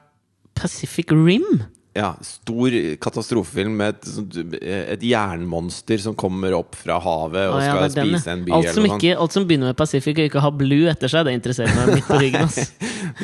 Speaker 2: Pacific Rim.
Speaker 1: Ja, Stor katastrofefilm med et, sånt- et jernmonster som kommer opp fra havet og
Speaker 2: Å, ja,
Speaker 1: skal
Speaker 2: det er den,
Speaker 1: spise
Speaker 2: ja.
Speaker 1: en by.
Speaker 2: alt, som
Speaker 1: eller noe sånt.
Speaker 2: ikke, alt som begynner med Pacific og ikke har blue etter seg, det interesserer meg midt på ryggen. ass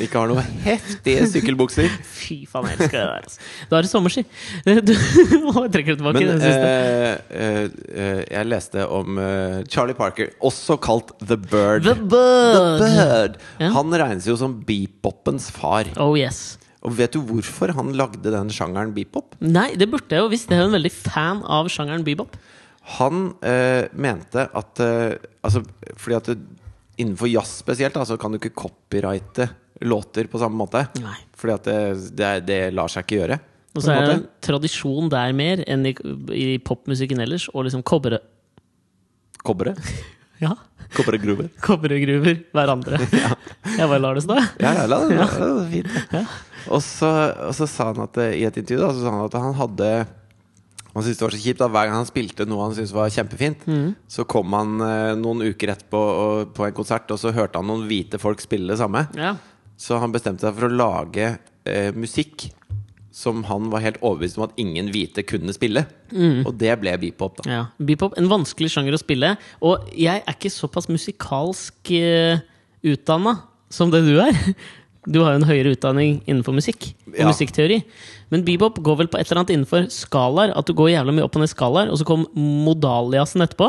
Speaker 1: Ikke har noe heftige sykkelbukser.
Speaker 2: Fy faen, jeg elsker det der. Altså. Da er det sommerski. Du Å, jeg trekker det tilbake.
Speaker 1: Men
Speaker 2: det siste.
Speaker 1: eh, eh, eh, jeg leste om eh, Charlie Parker, også kalt The Bird.
Speaker 2: The Bird.
Speaker 1: Bird.
Speaker 2: Ja.
Speaker 1: Han regnes jo som beepopens far.
Speaker 2: Oh yes.
Speaker 1: Og vet du hvorfor han lagde den sjangeren beepop?
Speaker 2: Nei, det burde jeg jo visst. Jeg er jo en veldig fan av sjangeren bebop.
Speaker 1: Han eh, mente at eh, Altså, fordi at du, innenfor jazz spesielt, da, så kan du ikke copyrighte låter på samme måte.
Speaker 2: Nei.
Speaker 1: Fordi at det, det, er- det lar seg ikke gjøre.
Speaker 2: Og
Speaker 1: på
Speaker 2: så
Speaker 1: en
Speaker 2: er det
Speaker 1: måte.
Speaker 2: en tradisjon der mer enn i, i popmusikken ellers å liksom kobre
Speaker 1: Kobberet.
Speaker 2: Ja,
Speaker 1: Kobbergruver.
Speaker 2: kobbergruver hverandre. Jeg bare lar det stå.
Speaker 1: Ja, ja, la det la det- fint. Og så, og så sa han at eh, i et intervju da, så sa han at han hadde Han syntes det var så kjipt at hver gang han spilte noe han syntes var kjempefint,
Speaker 2: Mm.
Speaker 1: så kom han eh, noen uker etterpå og, på en konsert, og så hørte han noen hvite folk spille det samme.
Speaker 2: Ja.
Speaker 1: Så han bestemte seg for å lage eh, musikk som han var helt overbevist om at ingen hvite kunne spille. Og det ble beepop, da.
Speaker 2: Mm. Ja. Bebop, en vanskelig sjanger å spille. Og jeg er ikke såpass musikalsk uh, utdanna som det du er. Du har jo en høyere utdanning innenfor musikk og
Speaker 1: Ja.
Speaker 2: musikkteori. Men bebop går vel på et eller annet innenfor skalaer. At du går jævla mye opp og ned skalaer, og så kom modaliasen etterpå.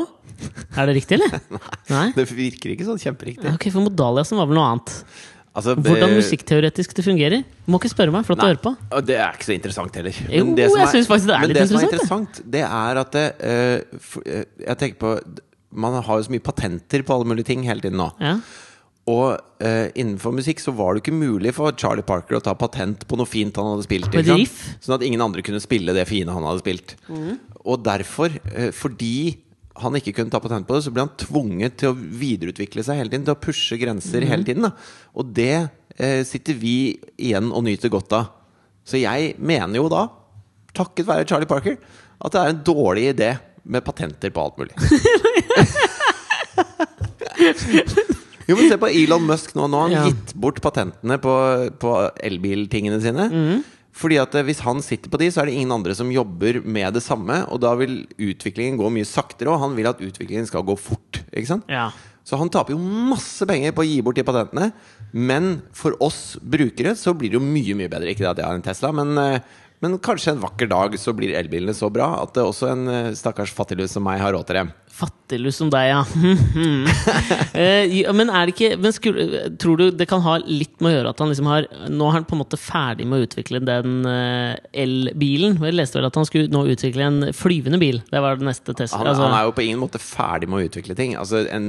Speaker 2: Er det riktig, eller? Nei?
Speaker 1: Det virker ikke sånn kjemperiktig.
Speaker 2: Ok, For modaliasen var vel noe annet.
Speaker 1: Altså,
Speaker 2: Hvordan
Speaker 1: eh,
Speaker 2: musikkteoretisk det fungerer? Du må ikke spørre meg for at du
Speaker 1: Nei,
Speaker 2: hører på.
Speaker 1: Og det er ikke så interessant heller.
Speaker 2: Jo, jeg synes faktisk det er
Speaker 1: men
Speaker 2: litt
Speaker 1: det som er
Speaker 2: interessant,
Speaker 1: interessant, det er at det, eh, f- eh, Jeg tenker på Man har jo så mye patenter på alle mulige ting hele tiden nå.
Speaker 2: Ja.
Speaker 1: Og eh, innenfor musikk så var det ikke mulig for Charlie Parker å ta patent på noe fint han hadde spilt.
Speaker 2: På et
Speaker 1: ikke sant?
Speaker 2: riff. Mm.
Speaker 1: Sånn at ingen andre kunne spille det fine han hadde spilt. Og derfor, eh, fordi han ikke kunne ta patent på det, så ble han tvunget til å videreutvikle seg hele tiden. Til å pushe grenser
Speaker 2: Mm.
Speaker 1: hele tiden. Da. Og det eh, sitter vi igjen og nyter godt av. Så jeg mener jo da, takket være Charlie Parker, at det er en dårlig idé med patenter på alt mulig. Jo, men Se på Elon Musk nå. Nå har han
Speaker 2: Ja.
Speaker 1: gitt bort patentene på, på elbiltingene sine. Fordi at eh, Hvis han sitter på de, så er det ingen andre som jobber med det samme. Og da vil utviklingen gå mye saktere, og han vil at utviklingen skal gå fort. Ikke sant?
Speaker 2: ja.
Speaker 1: Så han taper jo masse penger på å gi bort de patentene. Men for oss brukere så blir det jo mye mye bedre. Ikke det at jeg har en Tesla, men, eh, men kanskje en vakker dag så blir elbilene så bra at eh, også en eh, stakkars fattiglus som meg har råd til dem.
Speaker 2: Fattiglus som deg, ja. Eh, ja, men er det ikke men skulle, Tror du det kan ha litt med å gjøre at han liksom har Nå er han på en måte ferdig med å utvikle den eh, elbilen. Jeg leste vel at han skulle nå utvikle en flyvende bil. Det var det neste Tesla.
Speaker 1: Han,
Speaker 2: altså.
Speaker 1: han er jo på ingen måte ferdig med å utvikle ting. Altså, en,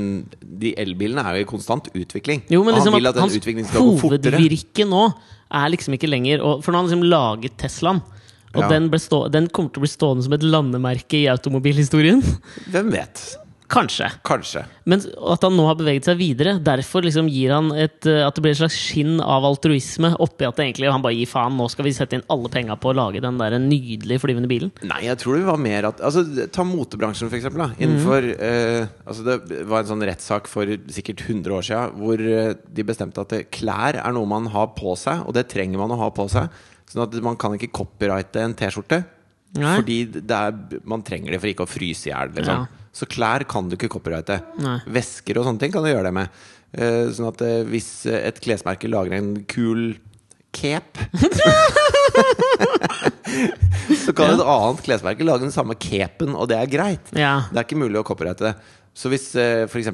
Speaker 1: de elbilene er jo i konstant utvikling.
Speaker 2: jo, men
Speaker 1: Og
Speaker 2: liksom
Speaker 1: han vil at
Speaker 2: at,
Speaker 1: den utviklingen
Speaker 2: hans
Speaker 1: skal gå fortere.
Speaker 2: hovedvirke nå er liksom ikke lenger å- For nå har han liksom laget Teslaen. Og
Speaker 1: Ja.
Speaker 2: den, ble stå, den kommer til å bli stående som et landemerke i automobilhistorien.
Speaker 1: Hvem vet?
Speaker 2: Kanskje.
Speaker 1: Kanskje.
Speaker 2: Men s- at han nå har beveget seg videre. Derfor liksom gir han et, eh, at det blir et slags skinn av altruisme oppi at det egentlig, han bare gir faen. Nå skal vi sette inn alle penga på å lage den der nydelige flyvende bilen.
Speaker 1: Nei, jeg tror det var mer at altså, Ta motebransjen, for eksempel. Da.
Speaker 2: Mhm.
Speaker 1: Innenfor, eh, altså, det var en sånn rettssak for sikkert 100 år siden hvor eh, de bestemte at eh, klær er noe man har på seg, og det trenger man å ha på seg. Sånn at man kan ikke copyrighte en T-skjorte.
Speaker 2: Nei.
Speaker 1: Fordi det er, man trenger det for ikke å fryse i hjel. Liksom.
Speaker 2: Ja.
Speaker 1: Så klær kan du ikke copyrighte.
Speaker 2: Nei.
Speaker 1: Væsker og sånne ting kan du gjøre det med. Eh, Sånn at eh, hvis eh, et klesmerke lager en kul cape Så kan et annet klesmerke lage den samme capen, og det er greit.
Speaker 2: Ja.
Speaker 1: Det er ikke mulig å copyrighte det. Så hvis eh, f.eks.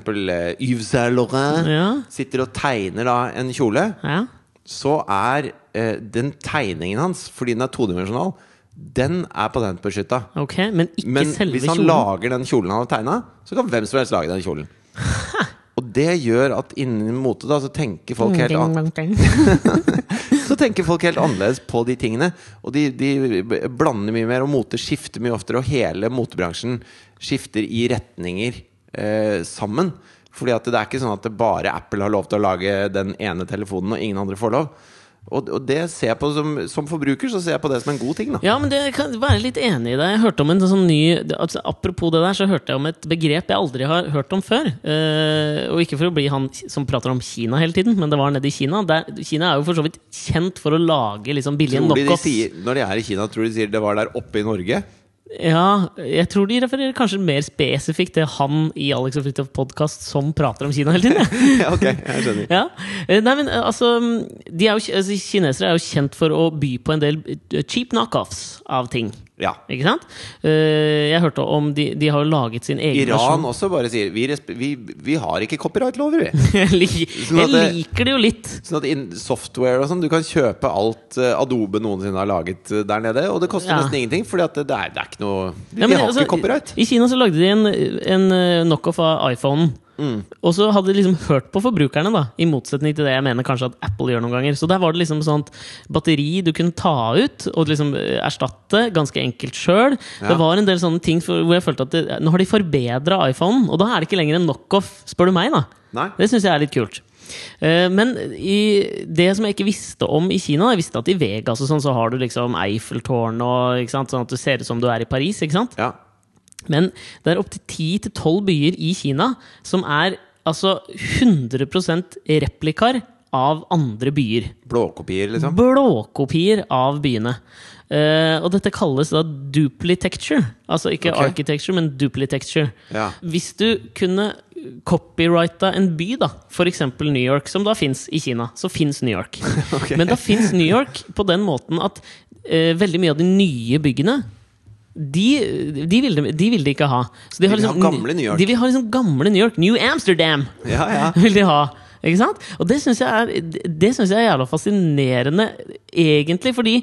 Speaker 1: Yves Saint Laurent
Speaker 2: Ja.
Speaker 1: sitter og tegner da en kjole,
Speaker 2: Ja.
Speaker 1: så er eh, den tegningen hans, fordi den er todimensjonal, den er patentbeskytta.
Speaker 2: Ok, men ikke
Speaker 1: Men
Speaker 2: selve
Speaker 1: hvis han
Speaker 2: kjolen.
Speaker 1: lager den kjolen han har tegna, så kan hvem som helst lage den kjolen. Og det gjør at innen mote da, så tenker folk helt an så tenker folk helt annerledes på de tingene. Og de, de b- blander mye mer, og mote skifter mye oftere. Og hele motebransjen skifter i retninger eh, sammen. Fordi at det er ikke sånn at det bare Apple har lov til å lage den ene telefonen, og ingen andre får lov. Og, og det ser jeg på som, som forbruker, så ser jeg på det som en god ting, da.
Speaker 2: Ja, men det kan være litt enig i deg. Jeg hørte om en sånn ny det- altså, Apropos det der, så hørte jeg om et begrep jeg aldri har hørt om før. Eh, og ikke for å bli han som prater om Kina hele tiden, men det var nede i Kina. Der, Kina er jo for så vidt kjent for å lage liksom billige
Speaker 1: Tror de de
Speaker 2: knockoffs.
Speaker 1: sier, når de er i Kina, tror de de sier det var der oppe i Norge?
Speaker 2: Ja, jeg tror de refererer kanskje mer spesifikt til han i Alex og Fridtjof podkast som prater om Kina hele tiden. jeg.
Speaker 1: Ja, ok, jeg skjønner.
Speaker 2: Ja. Eh, Nei, men eh, altså, de er jo, altså Kinesere er jo kjent for å by på en del eh, cheap knockoffs av ting.
Speaker 1: Ja.
Speaker 2: Ikke sant? Eh, Jeg hørte om De, de har jo laget sin egen
Speaker 1: Iran også bare sier Vi, resp vi, vi har ikke copyright-lover, vi.
Speaker 2: versjon. Jeg lik-
Speaker 1: Sånn at
Speaker 2: jeg
Speaker 1: det-
Speaker 2: liker det jo litt.
Speaker 1: Sånn at in software og sånn Du kan kjøpe alt eh, Adobe noensinne har laget eh, der nede, og det koster
Speaker 2: Ja.
Speaker 1: nesten ingenting, Fordi at det, det, er, det er ikke noe Vi,
Speaker 2: Ja, men
Speaker 1: har
Speaker 2: altså,
Speaker 1: ikke copyright.
Speaker 2: I Kina så lagde de en, en eh, knockoff av iPhonen.
Speaker 1: Mm.
Speaker 2: Og så hadde de liksom hørt på forbrukerne, da i motsetning til det jeg mener kanskje at Apple gjør noen ganger. Så der var det liksom sånt batteri du kunne ta ut og liksom eh, erstatte ganske enkelt sjøl.
Speaker 1: Ja.
Speaker 2: Det var en del sånne ting for, hvor jeg følte at det, nå har de forbedra iPhonen, og da er det ikke lenger en knockoff, spør du meg, da.
Speaker 1: Nei?
Speaker 2: Det syns jeg er litt kult. Eh, Men i det som jeg ikke visste om i Kina da, Jeg visste at i Vegas og sånn så har du liksom Eiffeltårn og ikke sant? sånn at du ser ut som du er i Paris. ikke sant?
Speaker 1: Ja.
Speaker 2: Men det er opptil 10-12 byer i Kina som er altså 100 replikaer av andre byer.
Speaker 1: Blåkopier, liksom.
Speaker 2: Blåkopier av byene. Eh, og dette kalles da duplitecture. Altså ikke
Speaker 1: Ok.
Speaker 2: architecture, men duplitecture.
Speaker 1: Ja.
Speaker 2: Hvis du kunne copyrighta en by, da, f.eks. New York, som da fins i Kina, så fins New York.
Speaker 1: Ok.
Speaker 2: Men da fins New York på den måten at eh, veldig mye av de nye byggene de, de, vil, de de vil de ikke ha. Så de,
Speaker 1: vil ha gamle New York.
Speaker 2: De vil ha liksom gamle New York. New Amsterdam!
Speaker 1: Ja, ja.
Speaker 2: vil de ha. Ikke sant? Og det syns jeg, er- det synes jeg er jævla fascinerende, egentlig, fordi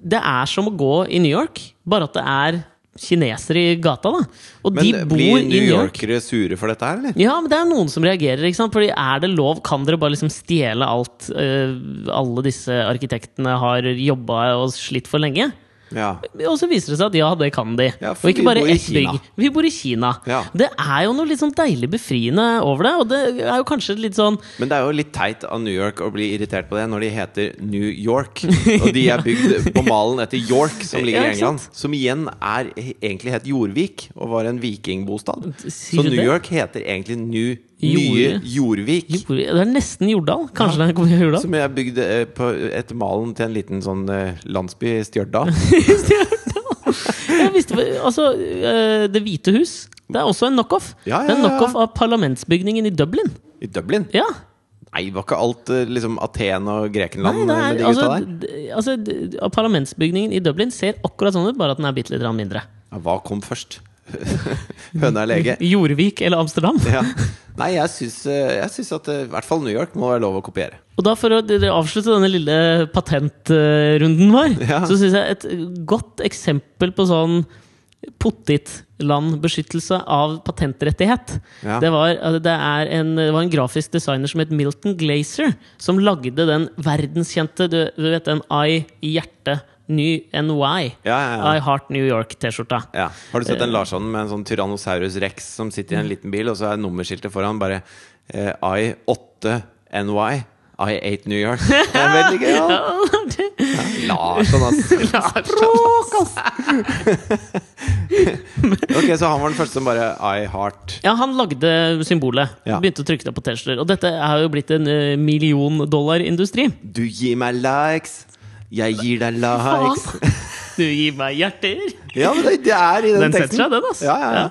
Speaker 2: det er som å gå i New York, bare at det er kinesere i gata, da. Og
Speaker 1: Men eh,
Speaker 2: de bor
Speaker 1: blir
Speaker 2: i
Speaker 1: New
Speaker 2: New York.
Speaker 1: Yorkere sure for dette her, eller?
Speaker 2: Ja, men det er noen som reagerer. ikke sant? Fordi er det lov? Kan dere bare liksom stjele alt eh, alle disse arkitektene har jobba og slitt for lenge?
Speaker 1: Ja.
Speaker 2: Og så viser det seg at ja, det kan de.
Speaker 1: Ja,
Speaker 2: og
Speaker 1: for
Speaker 2: ikke
Speaker 1: vi
Speaker 2: bare
Speaker 1: bor i
Speaker 2: ett
Speaker 1: Kina.
Speaker 2: bygg. Vi bor i Kina.
Speaker 1: Ja.
Speaker 2: Det er jo noe litt sånn deilig befriende over det. Og det er jo kanskje litt sånn
Speaker 1: Men det er jo litt teit av New York å bli irritert på det når de heter New York. Og de er bygd på malen etter York, som ligger i
Speaker 2: Ja, ikke
Speaker 1: England. Som igjen er egentlig het Jorvik, og var en vikingbostad.
Speaker 2: Sier
Speaker 1: Så
Speaker 2: du
Speaker 1: New
Speaker 2: det?
Speaker 1: York heter egentlig New, nye Jorvik.
Speaker 2: Jord- Det er nesten Jordal. Kanskje det kommer fra Jordal?
Speaker 1: Som er bygd eh, på, etter malen til en liten sånn eh, landsby, Stjørdal.
Speaker 2: Jeg visste, altså, eh, Det hvite hus. Det er også en knockoff.
Speaker 1: Ja, ja,
Speaker 2: Det er
Speaker 1: ja,
Speaker 2: en
Speaker 1: ja.
Speaker 2: knockoff av parlamentsbygningen i Dublin.
Speaker 1: I Dublin.
Speaker 2: Ja
Speaker 1: Nei, var ikke alt eh, liksom Aten og Grekenland
Speaker 2: Nei,
Speaker 1: eh, med
Speaker 2: det er,
Speaker 1: de
Speaker 2: altså,
Speaker 1: gutta der?
Speaker 2: d- altså, d- Parlamentsbygningen i Dublin ser akkurat sånn ut, bare at den er bitte litt grann mindre.
Speaker 1: Ja, hva kom først? Høna er lege.
Speaker 2: Jorvik eller Amsterdam.
Speaker 1: Ja. Nei, jeg syns, eh, jeg syns at eh, i hvert fall New York må være lov å kopiere.
Speaker 2: Og da For å d- d- avslutte denne lille patentrunden vår,
Speaker 1: Ja.
Speaker 2: så syns jeg et godt eksempel på sånn pottitlandbeskyttelse av patentrettighet
Speaker 1: Ja.
Speaker 2: det, var, altså, det, er en, det var en grafisk designer som het Milton Glazer, som lagde den verdenskjente Du, du vet den I i hjertet, ny NY.
Speaker 1: Ja, ja,
Speaker 2: I
Speaker 1: ja.
Speaker 2: Heart New York-T-skjorta.
Speaker 1: ja. Har du sett
Speaker 2: Eh.
Speaker 1: den Larsson med en sånn Tyrannosaurus rex som sitter i en liten bil, og så er nummerskiltet foran bare eh, I8NY. I8 New York. Det er veldig gøy! Ja. Larsson, ass.
Speaker 2: sånn. Språk, ass!
Speaker 1: Ok, så han var den første som bare I heart.
Speaker 2: Ja, han lagde symbolet.
Speaker 1: Ja.
Speaker 2: Begynte å trykke det på T-skjorter. Og dette er jo blitt en eh, million dollar-industri.
Speaker 1: Du gir meg likes, jeg gir deg likes.
Speaker 2: Du gir meg hjerter!
Speaker 1: Ja, men det, det er i den,
Speaker 2: Den setter
Speaker 1: teksten.
Speaker 2: seg, den, ass.
Speaker 1: Ja, ja, ja.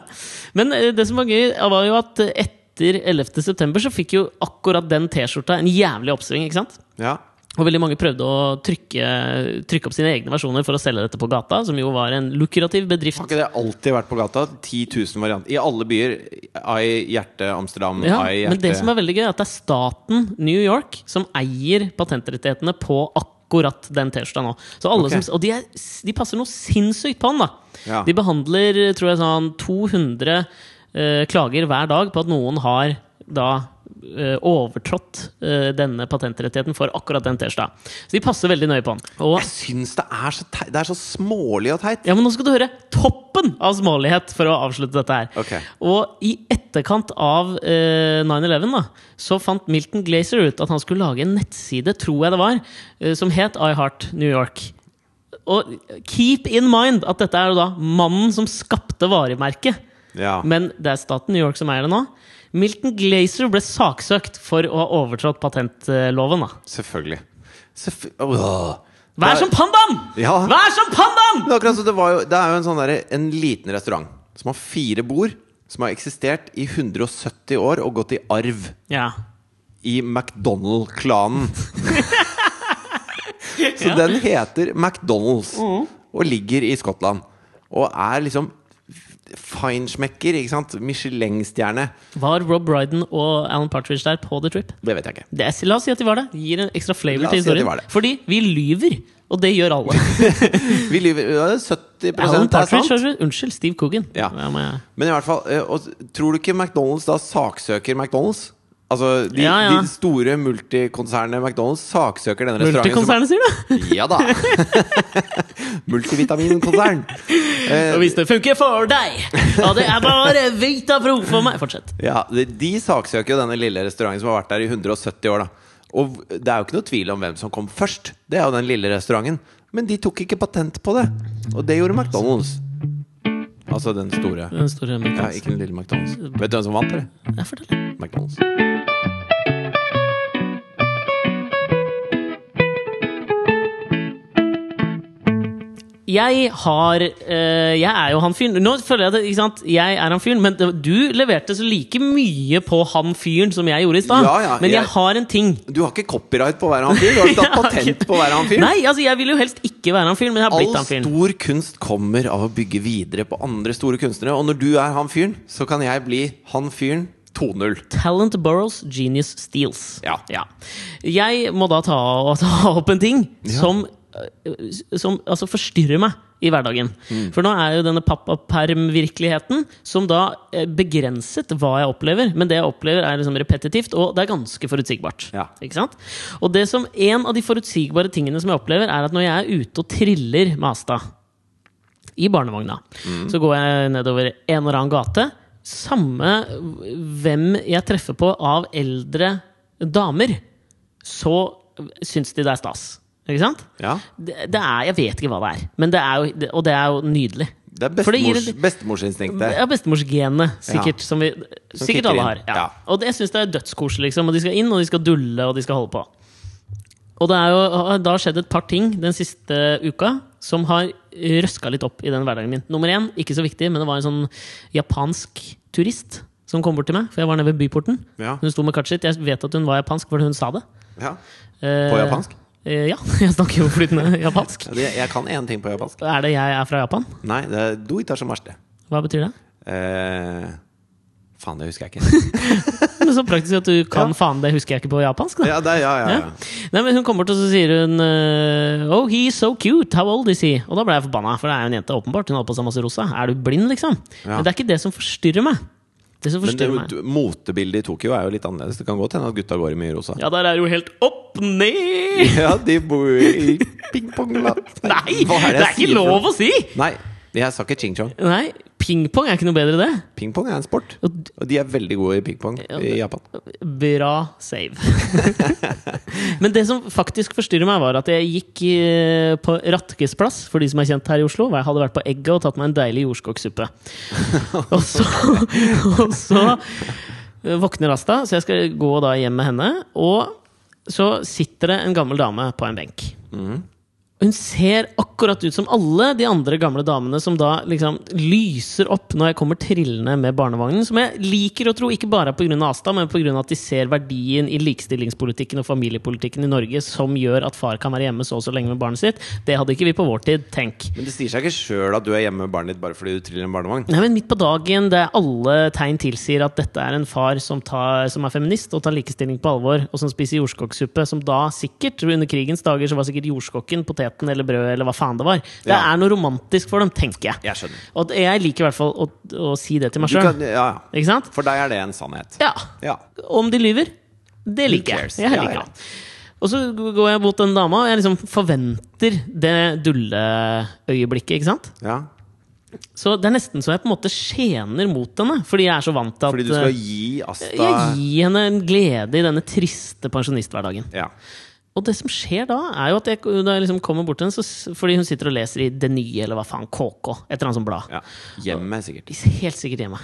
Speaker 2: Men eh, det som var gøy, var jo at eh, etter 11. september så fikk jo akkurat den T-skjorta en jævlig oppsving, ikke sant?
Speaker 1: Ja.
Speaker 2: Og veldig mange prøvde å trykke, trykke opp sine egne versjoner for å selge dette på gata, som jo var en lukrativ bedrift.
Speaker 1: Har ikke det alltid vært på gata? 10 000 varianter. I alle byer. I hjerte Amsterdam,
Speaker 2: Ja,
Speaker 1: I
Speaker 2: men det
Speaker 1: hjerte
Speaker 2: som er veldig gøy, er at det er staten New York som eier patentrettighetene på akkurat den T-skjorta nå. Så alle
Speaker 1: Ok.
Speaker 2: som, og de, er, de passer noe sinnssykt på den, da.
Speaker 1: Ja.
Speaker 2: De behandler tror jeg, sånn 200 eh, klager hver dag på at noen har da eh, overtrådt eh, denne patentrettigheten for akkurat den T-skjorta. Så de passer veldig nøye på den. Og
Speaker 1: Jeg syns det er så teit. Det er så smålig og teit.
Speaker 2: ja, men nå skal du høre toppen av smålighet for å avslutte dette her.
Speaker 1: Ok.
Speaker 2: Og i etterkant av eh, 9-11 da, så fant Milton Glazer ut at han skulle lage en nettside, tror jeg det var, eh, som het I Heart New York. Og keep in mind at dette er jo da mannen som skapte varemerket.
Speaker 1: Ja.
Speaker 2: Men det er staten New York som eier det nå. Milton Glazer ble saksøkt for å ha overtrådt patentloven. da.
Speaker 1: Selvfølgelig. Selvfø- Åh.
Speaker 2: Vær som pandaen!
Speaker 1: Ja.
Speaker 2: Vær som pandaen!
Speaker 1: Men akkurat så det, var jo, det er jo en, sånn derre- en liten restaurant som har fire bord, som har eksistert i 170 år og gått i arv
Speaker 2: Ja.
Speaker 1: i McDonald-klanen. så
Speaker 2: Ja. Mm.
Speaker 1: den heter McDonald's og ligger i Skottland. Og er liksom feinschmecker, ikke sant? Michelin-stjerne.
Speaker 2: Var Rob Brydon og Alan Partridge der på The Trip?
Speaker 1: Det vet jeg ikke.
Speaker 2: Det er, la oss si at de var det. Det gir en ekstra flavor
Speaker 1: La oss
Speaker 2: til
Speaker 1: si at de
Speaker 2: historien.
Speaker 1: var det.
Speaker 2: Fordi vi lyver, og det gjør alle.
Speaker 1: Vi lyver ja, 70 er
Speaker 2: Alan
Speaker 1: sant.
Speaker 2: Partridge, hører du? Unnskyld, Steve Coogan.
Speaker 1: Ja.
Speaker 2: Ja, men jeg-
Speaker 1: Men i hvert fall, eh, og, tror du ikke McDonald's da saksøker McDonald's? Altså, de,
Speaker 2: Ja, ja.
Speaker 1: de store multikonsernene McDonald's saksøker denne restauranten.
Speaker 2: Multikonsernet, sier du?
Speaker 1: som- Ja da! Multivitaminkonsern. Eh,
Speaker 2: Og hvis det funker for deg, ja, det er bare Vitapro for meg. Fortsett.
Speaker 1: ja, de, de saksøker jo denne lille restauranten som har vært der i 170 år. da Og v- det er jo ikke noe tvil om hvem som kom først. Det er jo den lille restauranten. Men de tok ikke patent på det. Og det gjorde McDonald's. Altså den store.
Speaker 2: Den
Speaker 1: Ja,
Speaker 2: store McDonald's.
Speaker 1: ikke den lille McDonald's. Vet du hvem som vant, eller?
Speaker 2: Ja, fortell.
Speaker 1: McDonald's.
Speaker 2: Jeg har eh, Jeg er jo han fyren. Nå føler jeg det, ikke sant? Jeg er han fyren, men det- du leverte så like mye på han fyren som jeg gjorde i stad.
Speaker 1: Ja, ja,
Speaker 2: men jeg
Speaker 1: jeg-
Speaker 2: har en ting.
Speaker 1: Du har ikke copyright på å være han fyren? Du har ikke tatt
Speaker 2: Jeg har
Speaker 1: patent
Speaker 2: ikke-
Speaker 1: på å være han fyren?
Speaker 2: Nei, altså jeg vil jo helst ikke være han fyren, men jeg har
Speaker 1: All
Speaker 2: blitt han fyren.
Speaker 1: stor kunst kommer av å bygge videre på andre store kunstnere. Og når du er han fyren, så kan jeg bli han fyren 2-0.
Speaker 2: Talent borrows, genius steals.
Speaker 1: Ja.
Speaker 2: Jeg må da ta, og ta opp en ting som, øh, som altså forstyrrer meg i hverdagen.
Speaker 1: Mm.
Speaker 2: For nå er jo denne pappaperm-virkeligheten, som da eh, begrenset hva jeg opplever. Men det jeg opplever, er liksom repetitivt, og det er ganske forutsigbart.
Speaker 1: Ja.
Speaker 2: Ikke sant? Og det som en av de forutsigbare tingene som jeg opplever, er at når jeg er ute og triller med Asta i barnevogna. Så går jeg nedover en eller annen gate. Samme hvem jeg treffer på av eldre damer, så syns de det er stas. Ikke sant?
Speaker 1: Ja.
Speaker 2: Det, det er, jeg vet ikke hva det er, men det er jo, det, og det er jo nydelig.
Speaker 1: Det er
Speaker 2: For det gir
Speaker 1: bestemors,
Speaker 2: en-
Speaker 1: bestemorsinstinktet.
Speaker 2: ja, bestemorsgenet, sikkert.
Speaker 1: Ja.
Speaker 2: Som vi, sikkert
Speaker 1: kicker
Speaker 2: alle
Speaker 1: inn.
Speaker 2: har. Ja.
Speaker 1: Ja.
Speaker 2: Og det, jeg syns det er dødskoselig. Liksom. Og de skal inn, og de skal dulle, og de skal holde på. Og det er jo, da har skjedd et par ting den siste uka som har røska litt opp i den hverdagen min. Nummer én, ikke så viktig, men det var en sånn japansk turist som kom bort til meg. For jeg var nede ved byporten.
Speaker 1: Ja.
Speaker 2: Hun sto med kartet sitt. Jeg vet at hun var japansk, for hun sa det.
Speaker 1: Ja.
Speaker 2: Eh,
Speaker 1: På japansk?
Speaker 2: eh, ja. Jeg snakker jo flytende japansk.
Speaker 1: Ja, det- Jeg kan én ting på japansk.
Speaker 2: Er det jeg er fra Japan?
Speaker 1: Nei, det er do itasjemashite.
Speaker 2: Hva betyr det?
Speaker 1: Eh, faen, det husker jeg ikke.
Speaker 2: Det er så praktisk at du kan
Speaker 1: Ja.
Speaker 2: faen, det husker jeg ikke på japansk. Da.
Speaker 1: Ja, det, ja, ja, ja.
Speaker 2: Nei, men Hun kommer bort og så sier hun eh, Oh, he's so cute, how old is he? Og da ble jeg forbanna, for det er jo en jente, åpenbart. Hun har på seg masse rosa. Er du blind, liksom?
Speaker 1: Ja.
Speaker 2: Men det er ikke det som forstyrrer meg. Det som
Speaker 1: Men det,
Speaker 2: forstyrrer meg
Speaker 1: du- motebildet i Tokyo er jo litt annerledes. Det kan godt hende at gutta går i mye rosa.
Speaker 2: Ja, der er jo helt opp ned!
Speaker 1: Ja, de bor i pingpongland.
Speaker 2: Nei! Det er, ikke lov å si!
Speaker 1: Nei, jeg sa ikke ching-chong.
Speaker 2: Nei, pingpong er ikke noe bedre, det.
Speaker 1: Pingpong er en sport.
Speaker 2: Og d-
Speaker 1: Og de er veldig gode i pingpong i Japan.
Speaker 2: Bra save. Men det som faktisk forstyrrer meg, var at jeg gikk eh, på Ratkes plass, for de som er kjent her i Oslo, hvor jeg hadde vært på Egget og tatt meg en deilig jordskokksuppe. Og så, og så eh, våkner Asta, så jeg skal gå da hjem med henne. Og så sitter det en gammel dame på en benk. Hun ser akkurat ut som alle de andre gamle damene som da liksom lyser opp når jeg kommer trillende med barnevognen. Som jeg liker å tro ikke bare pga. Asta, men pga. at de ser verdien i likestillingspolitikken og familiepolitikken i Norge som gjør at far kan være hjemme så og så lenge med barnet sitt. Det hadde ikke vi på vår tid. Tenk.
Speaker 1: Men det sier seg ikke sjøl at du er hjemme med barnet ditt bare fordi du triller en barnevogn.
Speaker 2: Nei, men Midt på dagen, det er alle tegn tilsier at dette er en far som, tar, som er feminist og tar likestilling på alvor, og som spiser jordskokksuppe, som da sikkert under krigens dager så var sikkert jordskokken poteten eller brødet eller hva faen det var. Det
Speaker 1: Ja.
Speaker 2: er noe romantisk for dem, tenker jeg.
Speaker 1: Jeg skjønner.
Speaker 2: Og jeg liker i hvert fall å, å si det til meg
Speaker 1: Du
Speaker 2: sjøl.
Speaker 1: kan, ja, ja.
Speaker 2: Ikke sant?
Speaker 1: For deg er det en sannhet.
Speaker 2: Ja.
Speaker 1: Ja.
Speaker 2: Om de lyver, det liker jeg.
Speaker 1: cares?
Speaker 2: Jeg
Speaker 1: Ja,
Speaker 2: liker
Speaker 1: ja.
Speaker 2: det. Og så går jeg mot den dama, og jeg liksom forventer det dulleøyeblikket, ikke sant?
Speaker 1: ja.
Speaker 2: Så det er nesten så jeg på en måte skjener mot henne, fordi jeg er så vant til at
Speaker 1: Fordi du skal gi Asta
Speaker 2: eh, jeg gir henne en glede i denne triste pensjonisthverdagen.
Speaker 1: Ja.
Speaker 2: Og det som skjer da, er jo at jeg, da jeg liksom kommer bort til henne, så, s- fordi hun sitter og leser i Det Nye, eller hva faen, KK, et eller annet sånt blad.
Speaker 1: ja. Hjemme, sikkert.
Speaker 2: De ser helt sikkert hjemme.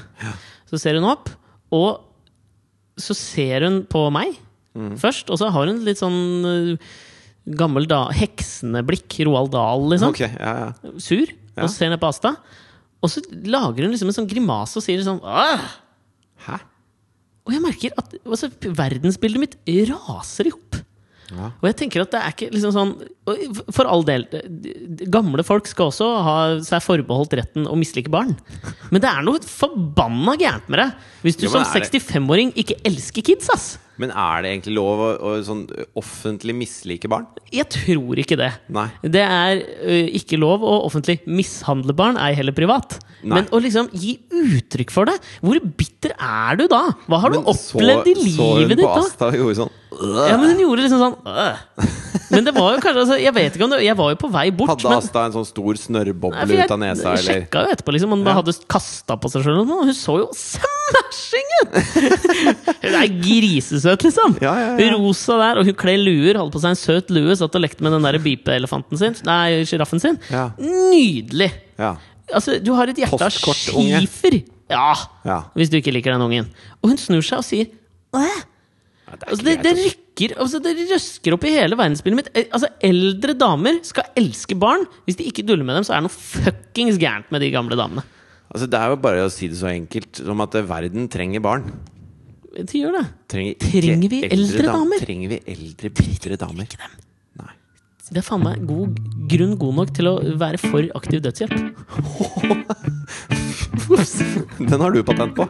Speaker 2: Så ser hun opp, og
Speaker 1: Mm.
Speaker 2: så ser hun på meg først, og så har hun litt sånn øh, Gammel da, hekseneblikk, Roald Dahl, liksom.
Speaker 1: Ok, ja, ja.
Speaker 2: Sur.
Speaker 1: Ja.
Speaker 2: Og så ser ned på Asta. Og så lager hun liksom en sånn grimase og sier sånn Åh!
Speaker 1: Hæ?
Speaker 2: Og jeg merker at altså, verdensbildet mitt raser i hop.
Speaker 1: Ja.
Speaker 2: Og jeg tenker at det er ikke liksom sånn og For all del, d- d- gamle folk skal også ha seg forbeholdt retten å mislike barn. Men det er noe forbanna gærent med det hvis du
Speaker 1: Ja, men
Speaker 2: som
Speaker 1: er det-
Speaker 2: 65-åring ikke elsker kids, ass!
Speaker 1: Men er det egentlig lov å, å sånn offentlig mislike barn?
Speaker 2: Jeg tror ikke det.
Speaker 1: Nei.
Speaker 2: Det er ø, ikke lov å offentlig mishandle barn, ei heller privat.
Speaker 1: Nei.
Speaker 2: Men å liksom gi uttrykk for det Hvor bitter er du da? Hva har
Speaker 1: Men
Speaker 2: du opplevd i
Speaker 1: så hun
Speaker 2: livet ditt
Speaker 1: på
Speaker 2: da?
Speaker 1: Asta og gjorde sånn
Speaker 2: Ja, men hun gjorde liksom sånn øh. Men det var jo kanskje altså, Jeg vet ikke om det Jeg var jo på vei bort.
Speaker 1: Hadde
Speaker 2: men,
Speaker 1: Asta en sånn stor
Speaker 2: Nei,
Speaker 1: snørrboble
Speaker 2: for jeg-
Speaker 1: ut av nesa,
Speaker 2: Jeg
Speaker 1: eller?
Speaker 2: sjekka jo etterpå liksom, om hun
Speaker 1: Ja.
Speaker 2: hadde kasta på seg sjøl. og Hun så jo smashing ut! hun er grisesøt, liksom.
Speaker 1: Ja, ja, ja.
Speaker 2: Rosa der, og hun kler luer. Holdt på seg en søt lue, satt og lekte med den der beepeelefanten sin. Nei, sjiraffen sin.
Speaker 1: Ja.
Speaker 2: Nydelig!
Speaker 1: Ja.
Speaker 2: Altså, du har et hjerte av
Speaker 1: Postkortunge.
Speaker 2: skifer. Ja,
Speaker 1: Ja.
Speaker 2: hvis du ikke liker den ungen. Og hun snur seg og sier Åh!
Speaker 1: Ja,
Speaker 2: Altså, det, det
Speaker 1: greit,
Speaker 2: rykker altså, Det røsker opp i hele verdensbildet mitt. Eh, Altså, Eldre damer skal elske barn. Hvis de ikke duller med dem, så er det noe fuckings gærent med de gamle damene.
Speaker 1: altså. altså, det er jo bare å si det så enkelt som at eh, verden trenger barn.
Speaker 2: De gjør det.
Speaker 1: Trenger,
Speaker 2: Trenger
Speaker 1: ikke
Speaker 2: vi eldre
Speaker 1: dam-
Speaker 2: damer?
Speaker 1: Trenger vi eldre, bitre damer?
Speaker 2: Ikke dem.
Speaker 1: Nei.
Speaker 2: Det er faen meg god grunn god nok til å være for aktiv dødshjelp.
Speaker 1: Den har du patent på.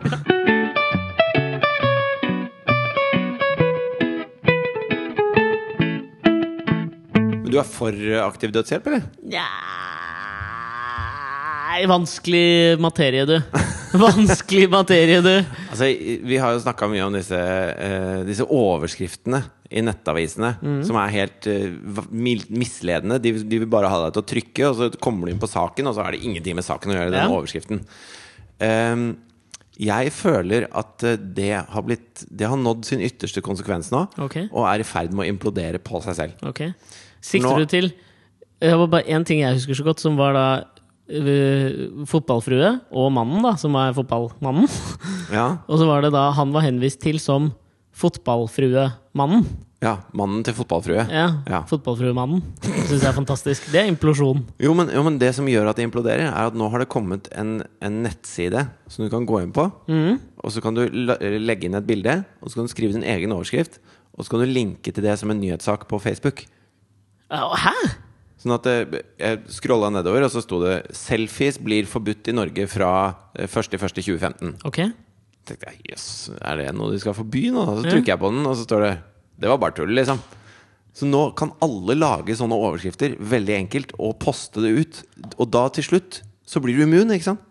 Speaker 1: Men du er for eh, aktiv dødshjelp, eller?
Speaker 2: Nja Vanskelig materie, du. Vanskelig materie, du.
Speaker 1: Altså, i- vi har jo snakka mye om disse, eh, disse overskriftene i nettavisene som er helt eh, va- mil- misledende. De, de vil bare ha deg til å trykke, og så kommer du inn på saken, og så er det ingenting med saken å gjøre.
Speaker 2: Ja.
Speaker 1: Denne overskriften Ehm, Jeg føler at eh, det har, blitt, det har nådd sin ytterste konsekvens nå,
Speaker 2: Ok.
Speaker 1: og er i ferd med å implodere på seg selv.
Speaker 2: Ok. Sikter
Speaker 1: Nå-
Speaker 2: du til Det var bare én ting jeg husker så godt, som var da øh, fotballfrue og mannen, da, som er fotballmannen.
Speaker 1: Ja,
Speaker 2: Og så var det da han var henvist til som fotballfruemannen.
Speaker 1: ja Mannen til fotballfrue.
Speaker 2: Ja,
Speaker 1: Ja.
Speaker 2: Fotballfruemannen. Det syns jeg er fantastisk. Det er implosjon.
Speaker 1: Jo men, jo, men det som gjør at det imploderer, er at nå har det kommet en, en nettside som du kan gå inn på. Og så kan du la- legge inn et bilde, og så kan du skrive din egen overskrift. Og så kan du linke til det som en nyhetssak på Facebook.
Speaker 2: Ja, og Hæ?!
Speaker 1: Sånn at det, jeg scrolla nedover, og så sto det 'Selfies blir forbudt i Norge fra eh, 1.1.2015'.
Speaker 2: Ok.
Speaker 1: tenkte jeg, jøss, er det noe de skal forby nå? Og så trykker jeg på den, og så står det 'Det var bare tull', liksom. Så nå kan alle lage sånne overskrifter veldig enkelt og poste det ut. Og da til slutt så blir du immun, ikke sant?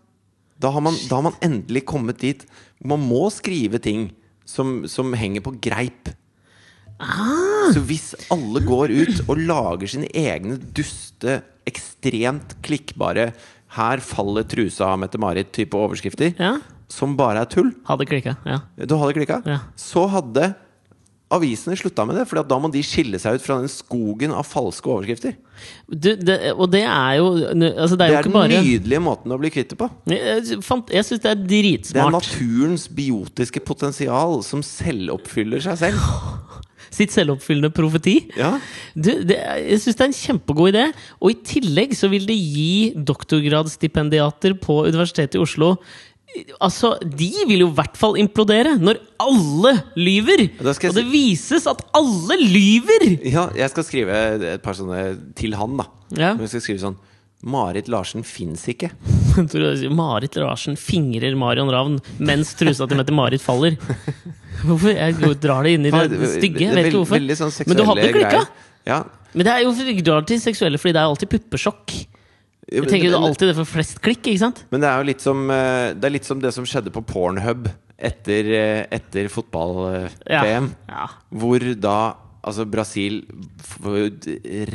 Speaker 1: Da har man, da har man endelig kommet dit hvor man må skrive ting som, som henger på greip. Så hvis alle går ut og lager sine egne duste, ekstremt klikkbare 'Her faller trusa av Mette-Marit'-type overskrifter,
Speaker 2: Ja.
Speaker 1: som bare er tull
Speaker 2: Hadde klikka. Ja.
Speaker 1: du hadde klikka?
Speaker 2: Ja.
Speaker 1: Så hadde avisene slutta med det, for da må de skille seg ut fra den skogen av falske overskrifter.
Speaker 2: Du, det, og det er jo altså Det
Speaker 1: Det er
Speaker 2: er jo ikke
Speaker 1: den
Speaker 2: bare
Speaker 1: nydelige måten å bli kvitt det på.
Speaker 2: Jeg fant- jeg syns det er
Speaker 1: Det er
Speaker 2: dritsmart.
Speaker 1: naturens biotiske potensial som selvoppfyller seg selv.
Speaker 2: Sitt selvoppfyllende profeti.
Speaker 1: Ja.
Speaker 2: Du, det, jeg syns det er en kjempegod idé. Og i tillegg så vil det gi doktorgradsstipendiater på Universitetet i Oslo Altså, De vil jo i hvert fall implodere når alle lyver!
Speaker 1: Da skal jeg
Speaker 2: Og det vises at alle lyver!
Speaker 1: ja, jeg skal skrive et par sånne til han, da.
Speaker 2: Ja.
Speaker 1: Men Jeg skal skrive sånn Marit Larsen fins ikke.
Speaker 2: Tror du det sier, Marit Larsen fingrer Marion Ravn mens trusa til Mette-Marit faller. Hvorfor? Jeg går- drar det inn i det, stygge. Jeg vet ikke
Speaker 1: Veld-
Speaker 2: hvorfor.
Speaker 1: Veldig sånn
Speaker 2: Men du hadde
Speaker 1: seksuelle
Speaker 2: klikka!
Speaker 1: greier. Ja.
Speaker 2: Men det er jo jeg drar til seksuelle, fordi det er jo alltid puppesjokk. Jeg tenker jo det er alltid det for flest klikk, ikke sant?
Speaker 1: Men det er jo litt som eh, Det er litt som det som skjedde på Pornhub etter, eh, etter fotball-VM.
Speaker 2: ja.
Speaker 1: Hvor da altså Brasil får jo et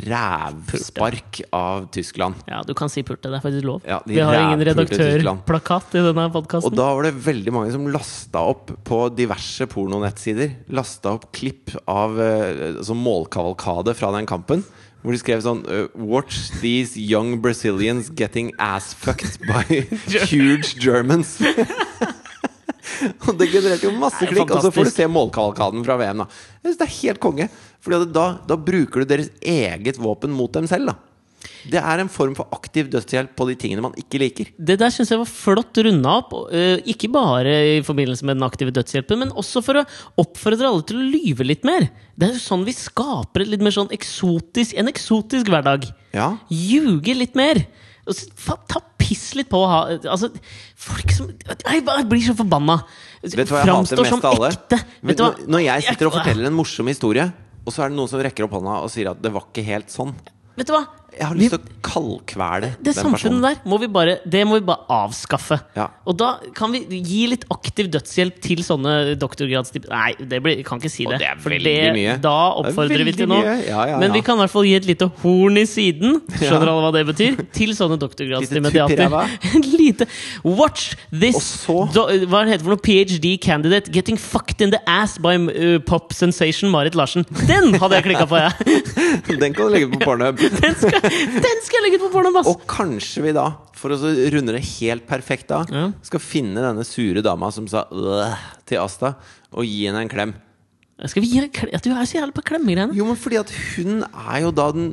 Speaker 1: rævspark av Tyskland.
Speaker 2: Ja, du kan si pulte. Det er faktisk lov.
Speaker 1: Ja, de
Speaker 2: Vi har ingen
Speaker 1: rævpulte Tyskland.
Speaker 2: redaktørplakat i denne
Speaker 1: Og
Speaker 2: podkasten.
Speaker 1: da var det veldig mange som lasta opp på diverse pornonettsider. Lasta opp klipp av eh, altså målkavalkade fra den kampen. Hvor de skrev sånn eh, Watch these young Brazilians getting ass fucked by huge Germans. Og det genererte jo masse
Speaker 2: Nei,
Speaker 1: klikk. Altså, Og så får du
Speaker 2: fantastisk.
Speaker 1: se målkavalkaden fra VM, da. Jeg synes det er helt konge. Fordi at da, da bruker du deres eget våpen mot dem selv. da Det er en form for aktiv dødshjelp på de tingene man ikke liker.
Speaker 2: Det der syns jeg var flott runda opp. og, eh, ikke bare i forbindelse med den aktive dødshjelpen, men også for å oppfordre alle til å lyve litt mer. Det er jo sånn vi skaper et litt mer sånn eksotisk, en eksotisk hverdag.
Speaker 1: Ja,
Speaker 2: Ljuge litt mer. Og s- fa- Ta piss litt på å ha Altså, folk som Jeg bare blir så forbanna.
Speaker 1: Vet du hva jeg hater mest av alle?
Speaker 2: ekte. Vet du hva?
Speaker 1: Når- Når jeg sitter og forteller en morsom historie, og så er det noen som rekker opp hånda og sier at det var ikke helt sånn.
Speaker 2: Vet du hva?
Speaker 1: Jeg har
Speaker 2: Vi-
Speaker 1: lyst til å kaldkvele
Speaker 2: det samfunnet der må vi bare, det må vi bare avskaffe.
Speaker 1: Ja.
Speaker 2: Og da kan vi gi litt aktiv dødshjelp til sånne doktorgradsstipend... Nei, det blir, kan ikke si det.
Speaker 1: Og det er
Speaker 2: for
Speaker 1: veldig
Speaker 2: det-
Speaker 1: mye.
Speaker 2: Da
Speaker 1: Det er
Speaker 2: oppfordrer vi
Speaker 1: veldig
Speaker 2: til noe.
Speaker 1: mye. Ja, ja,
Speaker 2: Men
Speaker 1: ja.
Speaker 2: vi kan i hvert fall gi et lite horn i siden, skjønner alle hva det betyr, til
Speaker 1: Lite
Speaker 2: sånne
Speaker 1: tupp i
Speaker 2: doktorgradsstipendiater.
Speaker 1: ræva.
Speaker 2: En lite Watch
Speaker 1: Og
Speaker 2: this do,
Speaker 1: så-
Speaker 2: Hva heter det for noe? PhD candidate getting fucked in the ass by uh, pop sensation Marit Larsen. Den hadde jeg klikka på, jeg!
Speaker 1: Den kan du legge på Pornhub.
Speaker 2: Den skal, den skal jeg legge ut på porno, ass!
Speaker 1: Og kanskje vi da, for å så runde det helt perfekt av,
Speaker 2: Ja.
Speaker 1: skal finne denne sure dama som sa «Øh» til Asta, og gi henne en klem.
Speaker 2: Skal vi gi deg klem? Du er så jævlig på klemmegreiene.
Speaker 1: Jo, men fordi at hun er jo da den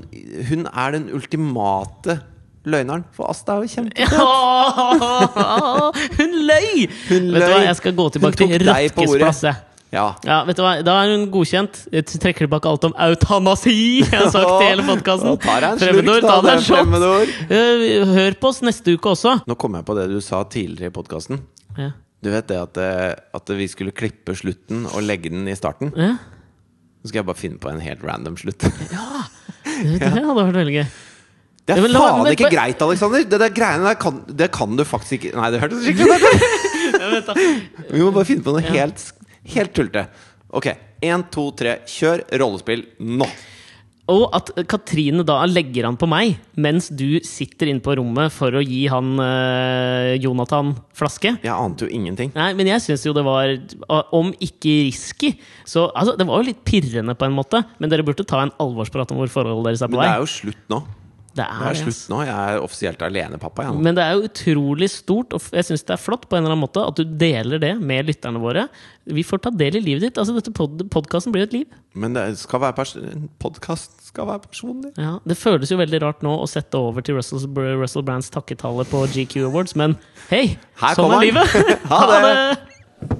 Speaker 1: Hun er den ultimate løgneren. For Asta er jo kjempe...
Speaker 2: Åh, Hun løy!
Speaker 1: Hun
Speaker 2: Vet du hva,
Speaker 1: løy.
Speaker 2: jeg skal gå tilbake
Speaker 1: Hun
Speaker 2: til
Speaker 1: tok deg på ordet.
Speaker 2: Røkkes plass. jeg.
Speaker 1: Ja.
Speaker 2: Ja, vet du hva, Da er hun godkjent. Jeg trekker tilbake alt om eutanasi! Jeg har sagt i hele podkasten.
Speaker 1: Da tar jeg en slurk, da. det er Fremmedord.
Speaker 2: Eh, Hør på oss neste uke også.
Speaker 1: Nå kom jeg på det du sa tidligere i podkasten.
Speaker 2: Ja.
Speaker 1: Du vet det at, eh, at vi skulle klippe slutten og legge den i starten?
Speaker 2: Ja.
Speaker 1: Så skal jeg bare finne på en helt random slutt.
Speaker 2: Det det hadde vært veldig gøy.
Speaker 1: Det
Speaker 2: Ja,
Speaker 1: er
Speaker 2: men la-
Speaker 1: faen
Speaker 2: men-
Speaker 1: ikke greit, Aleksander! Det der greiene der kan, det kan du faktisk ikke Nei, det hørtes skikkelig ut! Vi må bare finne på noe helt, helt tullete. Ok. Én, to, tre, kjør rollespill nå!
Speaker 2: Og at Katrine da legger han på meg mens du sitter inne på rommet for å gi han eh, Jonathan flaske.
Speaker 1: Jeg ante jo ingenting.
Speaker 2: Nei, men jeg syns jo det var Om ikke risky Så altså, det var jo litt pirrende på en måte Men dere burde ta en alvorsprat om hvor forholdet deres er på
Speaker 1: Men
Speaker 2: vei
Speaker 1: det er jo slutt nå.
Speaker 2: Det er
Speaker 1: Det er
Speaker 2: det,
Speaker 1: slutt nå. Jeg er offisielt alenepappa,
Speaker 2: ass.
Speaker 1: jeg nå.
Speaker 2: Men det er jo utrolig stort Og f- jeg syns det er flott på en eller annen måte At du deler det med lytterne våre Vi får ta del i livet ditt Altså dette pod podcasten blir jo et liv
Speaker 1: Men det skal være pers podkast skal være personlig.
Speaker 2: ja, Det føles jo veldig rart nå å sette over til Russell, Russell Brands takketale på GQ Awards Men hei,
Speaker 1: Her
Speaker 2: sånn
Speaker 1: kommer
Speaker 2: er
Speaker 1: han.
Speaker 2: livet
Speaker 1: Ha det.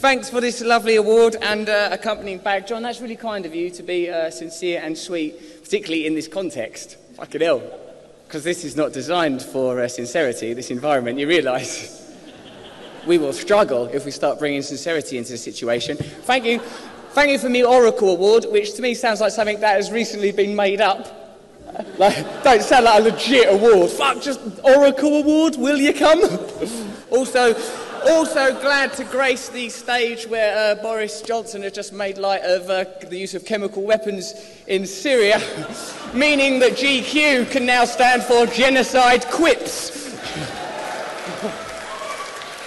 Speaker 3: Thanks for this lovely award and uh, accompanying bag. John, that's really kind of you to be uh, sincere and sweet, particularly in this context. Fucking hell. Because this is not designed for uh, sincerity, this environment, you realise. we will struggle if we start bringing sincerity into the situation. Thank you. Thank you for me Oracle Award, which to me sounds like something that has recently been made up. Like, don't sound like a legit award. Fuck, just Oracle Award, will you come? also, also glad to grace the stage where uh, Boris Johnson has just made light of uh, the use of chemical weapons in Syria, meaning that GQ can now stand for genocide quips.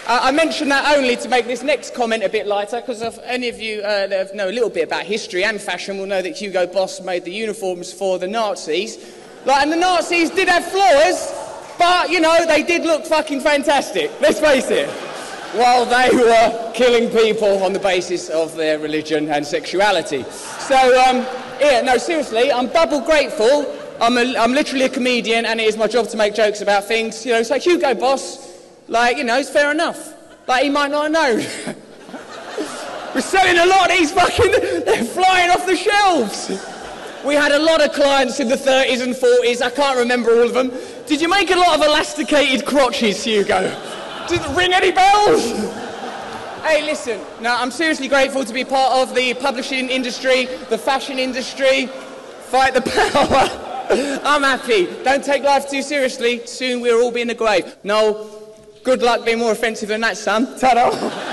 Speaker 3: Uh, I mention that only to make this next comment a bit lighter, because if any of you uh, that have- know a little bit about history and fashion will know that Hugo Boss made the uniforms for the Nazis. Like, and the Nazis did have flaws, but, you know, they did look fucking fantastic, let's face it. While they were killing people on the basis of their religion and sexuality. So, um, yeah, no, seriously, I'm double grateful. I'm, a, I'm literally a comedian, and it is my job to make jokes about things. You know, so Hugo Boss, like, you know, it's fair enough. Like, he might not have known. We're selling a lot of these fucking, they're flying off the shelves. We had a lot of clients in the 30s and 40s. I can't remember all of them. Did you make a lot of elasticated crotches, Hugo? Did it ring any bells? Hey, listen, now I'm seriously grateful to be part of the publishing industry, the fashion industry. Fight the power. I'm happy. Don't take life too seriously. Soon we'll all be in the grave. No, good luck being more offensive than that, son. Ta-da.